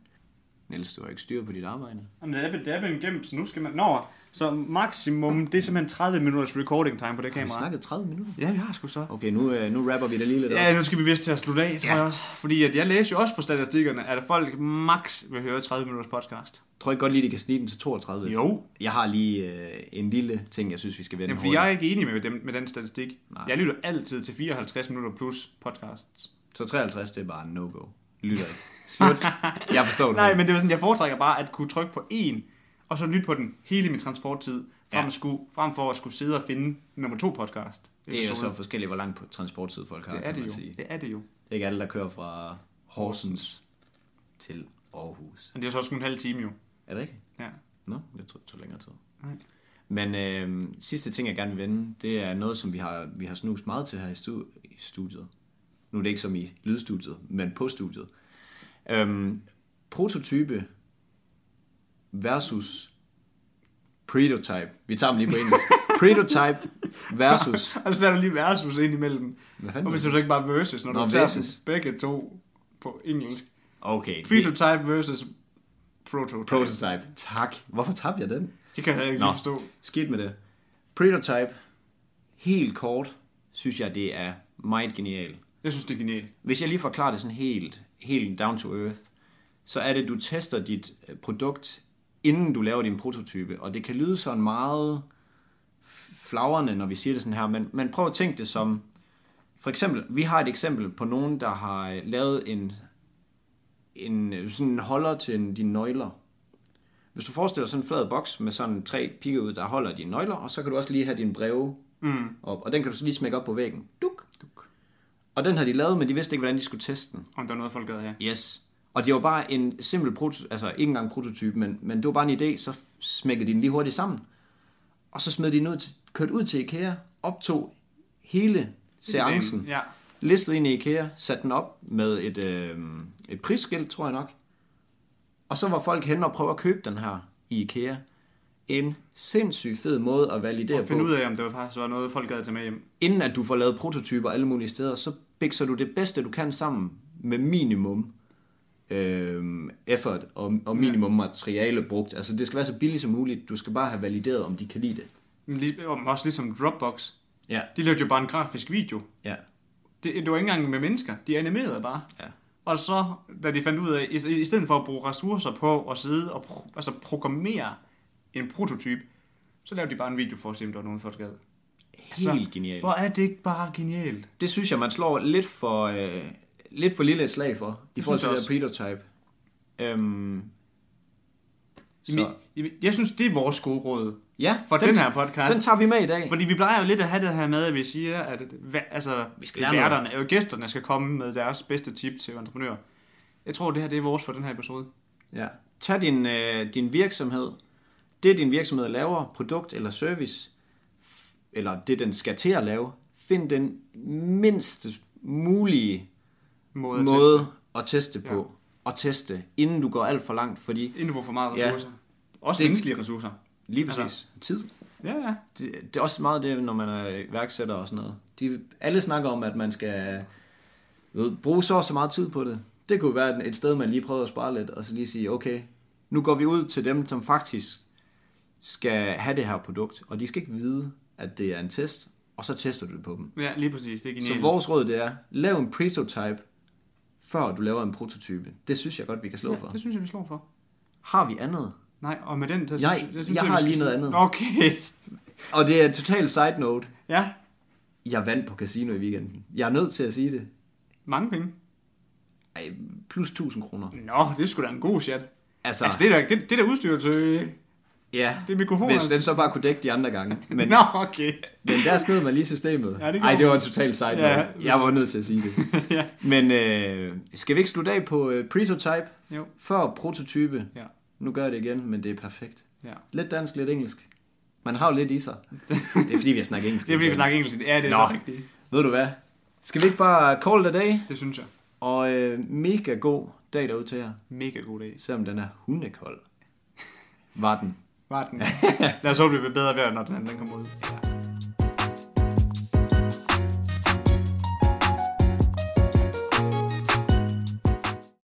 [SPEAKER 2] Niels, du har ikke styr på dit arbejde.
[SPEAKER 1] Jamen, det er, det er blevet gemt, så nu skal man... Nå, så maksimum, det er simpelthen 30 minutters recording time på det
[SPEAKER 2] Vi
[SPEAKER 1] kamera.
[SPEAKER 2] snakkede 30 minutter.
[SPEAKER 1] Ja, vi har sgu så.
[SPEAKER 2] Okay, nu, øh, nu rapper vi det lige lidt op.
[SPEAKER 1] Ja, nu skal vi vist til at slutte af, tror
[SPEAKER 2] Ja.
[SPEAKER 1] jeg også. Fordi at jeg læser jo også på statistikkerne, at folk max vil høre 30 minutters podcast.
[SPEAKER 2] Tror ikke godt lige, de kan snige den til 32?
[SPEAKER 1] Jo.
[SPEAKER 2] Jeg har lige øh, en lille ting, jeg synes, vi skal vende
[SPEAKER 1] Jamen, fordi jeg er ikke enig med, dem, med den statistik.
[SPEAKER 2] Nej.
[SPEAKER 1] Nej. Jeg lytter altid til 54 minutter plus podcasts.
[SPEAKER 2] Så 53, det er bare no-go. Lytter ikke.
[SPEAKER 1] (laughs)
[SPEAKER 2] Slut. Jeg forstår det.
[SPEAKER 1] Nej, men det var sådan, jeg foretrækker bare at kunne trykke på en, og så lytte på den hele min transporttid, frem,
[SPEAKER 2] Ja.
[SPEAKER 1] ja. skulle, frem for at skulle sidde og finde nummer to podcast.
[SPEAKER 2] Det er jo
[SPEAKER 1] Episode.
[SPEAKER 2] så forskelligt, hvor langt på transporttid folk har,
[SPEAKER 1] det er
[SPEAKER 2] kan
[SPEAKER 1] det
[SPEAKER 2] man
[SPEAKER 1] jo.
[SPEAKER 2] sige.
[SPEAKER 1] Det er det jo.
[SPEAKER 2] Det er ikke alle, der kører fra Horsens til Aarhus.
[SPEAKER 1] Men det er jo så også kun en halv time jo.
[SPEAKER 2] Er det ikke?
[SPEAKER 1] Ja.
[SPEAKER 2] Nå, det tog, tog længere tid.
[SPEAKER 1] Nej.
[SPEAKER 2] Men øh, sidste ting, jeg gerne vil vende, det er noget, som vi har, vi har snust meget til her i, stu- i studiet. Nu er det ikke som i lydstudiet, men på studiet. Øhm, prototype versus prototype. Vi tager dem lige
[SPEAKER 1] (laughs)
[SPEAKER 2] på engelsk. prototype versus...
[SPEAKER 1] Og så er der lige versus ind imellem.
[SPEAKER 2] Hvad
[SPEAKER 1] Og
[SPEAKER 2] fanden?
[SPEAKER 1] hvis du så ikke bare versus, når
[SPEAKER 2] Nå,
[SPEAKER 1] du tager
[SPEAKER 2] versus.
[SPEAKER 1] dem begge to på engelsk.
[SPEAKER 2] Okay.
[SPEAKER 1] Prototype versus prototype.
[SPEAKER 2] Prototype. Tak. Hvorfor tabte jeg den?
[SPEAKER 1] Det kan jeg ikke
[SPEAKER 2] Nå.
[SPEAKER 1] lige forstå.
[SPEAKER 2] Skidt med det. Prototype. Helt kort, synes jeg, det er meget genialt.
[SPEAKER 1] Jeg synes, det er genialt.
[SPEAKER 2] Hvis jeg lige forklarer det sådan helt, helt down to earth, så er det, at du tester dit øh, produkt, inden du laver din prototype. Og det kan lyde sådan meget flagrende, når vi siger det sådan her, men, men prøv at tænke det som, for eksempel, vi har et eksempel på nogen, der har øh, lavet en, en øh, sådan en holder til en, dine nøgler. Hvis du forestiller dig sådan en flad boks med sådan tre pigge ud, der holder dine nøgler, og så kan du også lige have dine breve mm. op, og den kan du så lige smække op på væggen. Duk. Duk. Og den har de lavet, men de vidste ikke, hvordan de skulle teste den.
[SPEAKER 1] Om der er noget, folk gad her.
[SPEAKER 2] Yes. Og det var bare en simpel prototype, altså ikke engang prototype, men, men det var bare en idé, så smækkede de den lige hurtigt sammen. Og så smed de den ud, til- kørte ud til IKEA, optog hele seancen,
[SPEAKER 1] Ja.
[SPEAKER 2] listede ind i IKEA, satte den op med et, øh, et prisskilt, tror jeg nok. Og så var folk hen og prøve at købe den her i IKEA. En sindssygt fed måde at validere
[SPEAKER 1] Og finde
[SPEAKER 2] på.
[SPEAKER 1] ud af, om det var faktisk var noget, folk gad tage med hjem.
[SPEAKER 2] Inden at du får lavet prototyper alle mulige steder, så bikser du det bedste, du kan sammen med minimum øh, effort og, og minimum materiale brugt. Altså det skal være så billigt som muligt. Du skal bare have valideret, om de kan lide det.
[SPEAKER 1] Men lige- og Også ligesom Dropbox.
[SPEAKER 2] Ja,
[SPEAKER 1] De lavede jo bare en grafisk video.
[SPEAKER 2] ja.
[SPEAKER 1] Det, det var ikke engang med mennesker. De animerede bare.
[SPEAKER 2] Ja.
[SPEAKER 1] Og så, da de fandt ud af, i, i stedet for at bruge ressourcer på at sidde og pro, altså programmere en prototype, så lavede de bare en video for at se, om der var nogen, folk gad.
[SPEAKER 2] Helt
[SPEAKER 1] Altså,
[SPEAKER 2] genialt.
[SPEAKER 1] Hvor er det ikke bare genialt?
[SPEAKER 2] Det synes jeg, man slår lidt for, øh, lidt for lille et slag for, i forhold til det
[SPEAKER 1] synes
[SPEAKER 2] der prototype. Øhm,
[SPEAKER 1] I min,
[SPEAKER 2] så,
[SPEAKER 1] i, min- jeg synes, det er vores gode råd
[SPEAKER 2] ja,
[SPEAKER 1] for den, den her
[SPEAKER 2] den
[SPEAKER 1] podcast. Den
[SPEAKER 2] tager vi med i dag.
[SPEAKER 1] fordi vi plejer jo lidt at have det her med, at vi siger, at hva- altså, vi
[SPEAKER 2] skal
[SPEAKER 1] skal
[SPEAKER 2] lære noget.
[SPEAKER 1] værterne, og gæsterne skal komme med deres bedste tip til entreprenører. Jeg tror, det her det er vores for den her episode.
[SPEAKER 2] Ja. Tag din, øh, din virksomhed, det din virksomhed laver, produkt eller service, f- eller det den skal til at lave, find den mindst mulige
[SPEAKER 1] Måde
[SPEAKER 2] måde,
[SPEAKER 1] at teste.
[SPEAKER 2] at teste på. Og teste, inden du går alt for langt, fordi
[SPEAKER 1] Inden du bruger for meget
[SPEAKER 2] Ja.
[SPEAKER 1] ressourcer. Også
[SPEAKER 2] Det-
[SPEAKER 1] menneskelige ressourcer.
[SPEAKER 2] lige
[SPEAKER 1] Altså,
[SPEAKER 2] præcis tid.
[SPEAKER 1] Ja, ja.
[SPEAKER 2] Det, det er også meget det, når man er iværksætter og sådan noget. De, alle snakker om, at man skal du ved, bruge så og så meget tid på det. Det kunne være et sted, man lige prøver at spare lidt, og så lige sige, okay, nu går vi ud til dem, som faktisk skal have det her produkt, og de skal ikke vide, at det er en test, og så tester du det på dem.
[SPEAKER 1] Ja, lige præcis. Det er
[SPEAKER 2] Så
[SPEAKER 1] genialt.
[SPEAKER 2] vores råd det er, lav en prototype, før du laver en prototype. Det synes jeg godt, vi kan slå
[SPEAKER 1] Ja,
[SPEAKER 2] for.
[SPEAKER 1] det synes jeg, vi slår for.
[SPEAKER 2] Har vi andet?
[SPEAKER 1] Nej, og med den... Så,
[SPEAKER 2] Jeg- jeg
[SPEAKER 1] vi
[SPEAKER 2] har
[SPEAKER 1] skal
[SPEAKER 2] lige
[SPEAKER 1] slutte.
[SPEAKER 2] noget andet.
[SPEAKER 1] Okay.
[SPEAKER 2] Og det er totalt side note.
[SPEAKER 1] Ja,
[SPEAKER 2] Jeg vandt på casino i weekenden. Jeg er nødt til at sige det.
[SPEAKER 1] mange penge.
[SPEAKER 2] Ej, plus 1000 kroner.
[SPEAKER 1] Nå, det er sgu da en god chat.
[SPEAKER 2] Altså,
[SPEAKER 1] Altså, det der, det, det der udstyr til...
[SPEAKER 2] ja,
[SPEAKER 1] det er mikrofonen,
[SPEAKER 2] hvis
[SPEAKER 1] altså.
[SPEAKER 2] den så bare kunne dække de andre gange. Men,
[SPEAKER 1] Men... Nå, okay. (laughs)
[SPEAKER 2] men der sned man lige systemet.
[SPEAKER 1] Ja, det gjorde
[SPEAKER 2] Ej, det var
[SPEAKER 1] man.
[SPEAKER 2] en total sejt.
[SPEAKER 1] Ja.
[SPEAKER 2] Ja. Jeg var nødt til at sige
[SPEAKER 1] (laughs)
[SPEAKER 2] det.
[SPEAKER 1] ja.
[SPEAKER 2] Men øh, skal vi ikke slutte af på øh, prototype?
[SPEAKER 1] Jo.
[SPEAKER 2] Før prototype.
[SPEAKER 1] Ja.
[SPEAKER 2] Nu gør jeg det igen, men det er perfekt.
[SPEAKER 1] ja.
[SPEAKER 2] Lidt dansk, lidt engelsk. Man har jo lidt
[SPEAKER 1] (laughs)
[SPEAKER 2] i sig. Det er fordi, vi har snakket engelsk.
[SPEAKER 1] Det er fordi, vi snakker engelsk. Ja, det er
[SPEAKER 2] Nå.
[SPEAKER 1] så rigtigt.
[SPEAKER 2] Ved du hvad? Skal vi ikke bare call it a day?
[SPEAKER 1] Det synes jeg.
[SPEAKER 2] Og øh, mega god dag derude til jer.
[SPEAKER 1] Mega god dag.
[SPEAKER 2] Selvom den er hundekold. Var den. (laughs)
[SPEAKER 1] Var den. Lad os håbe, det bliver bedre vejr, når den anden den kommer ud. Ja.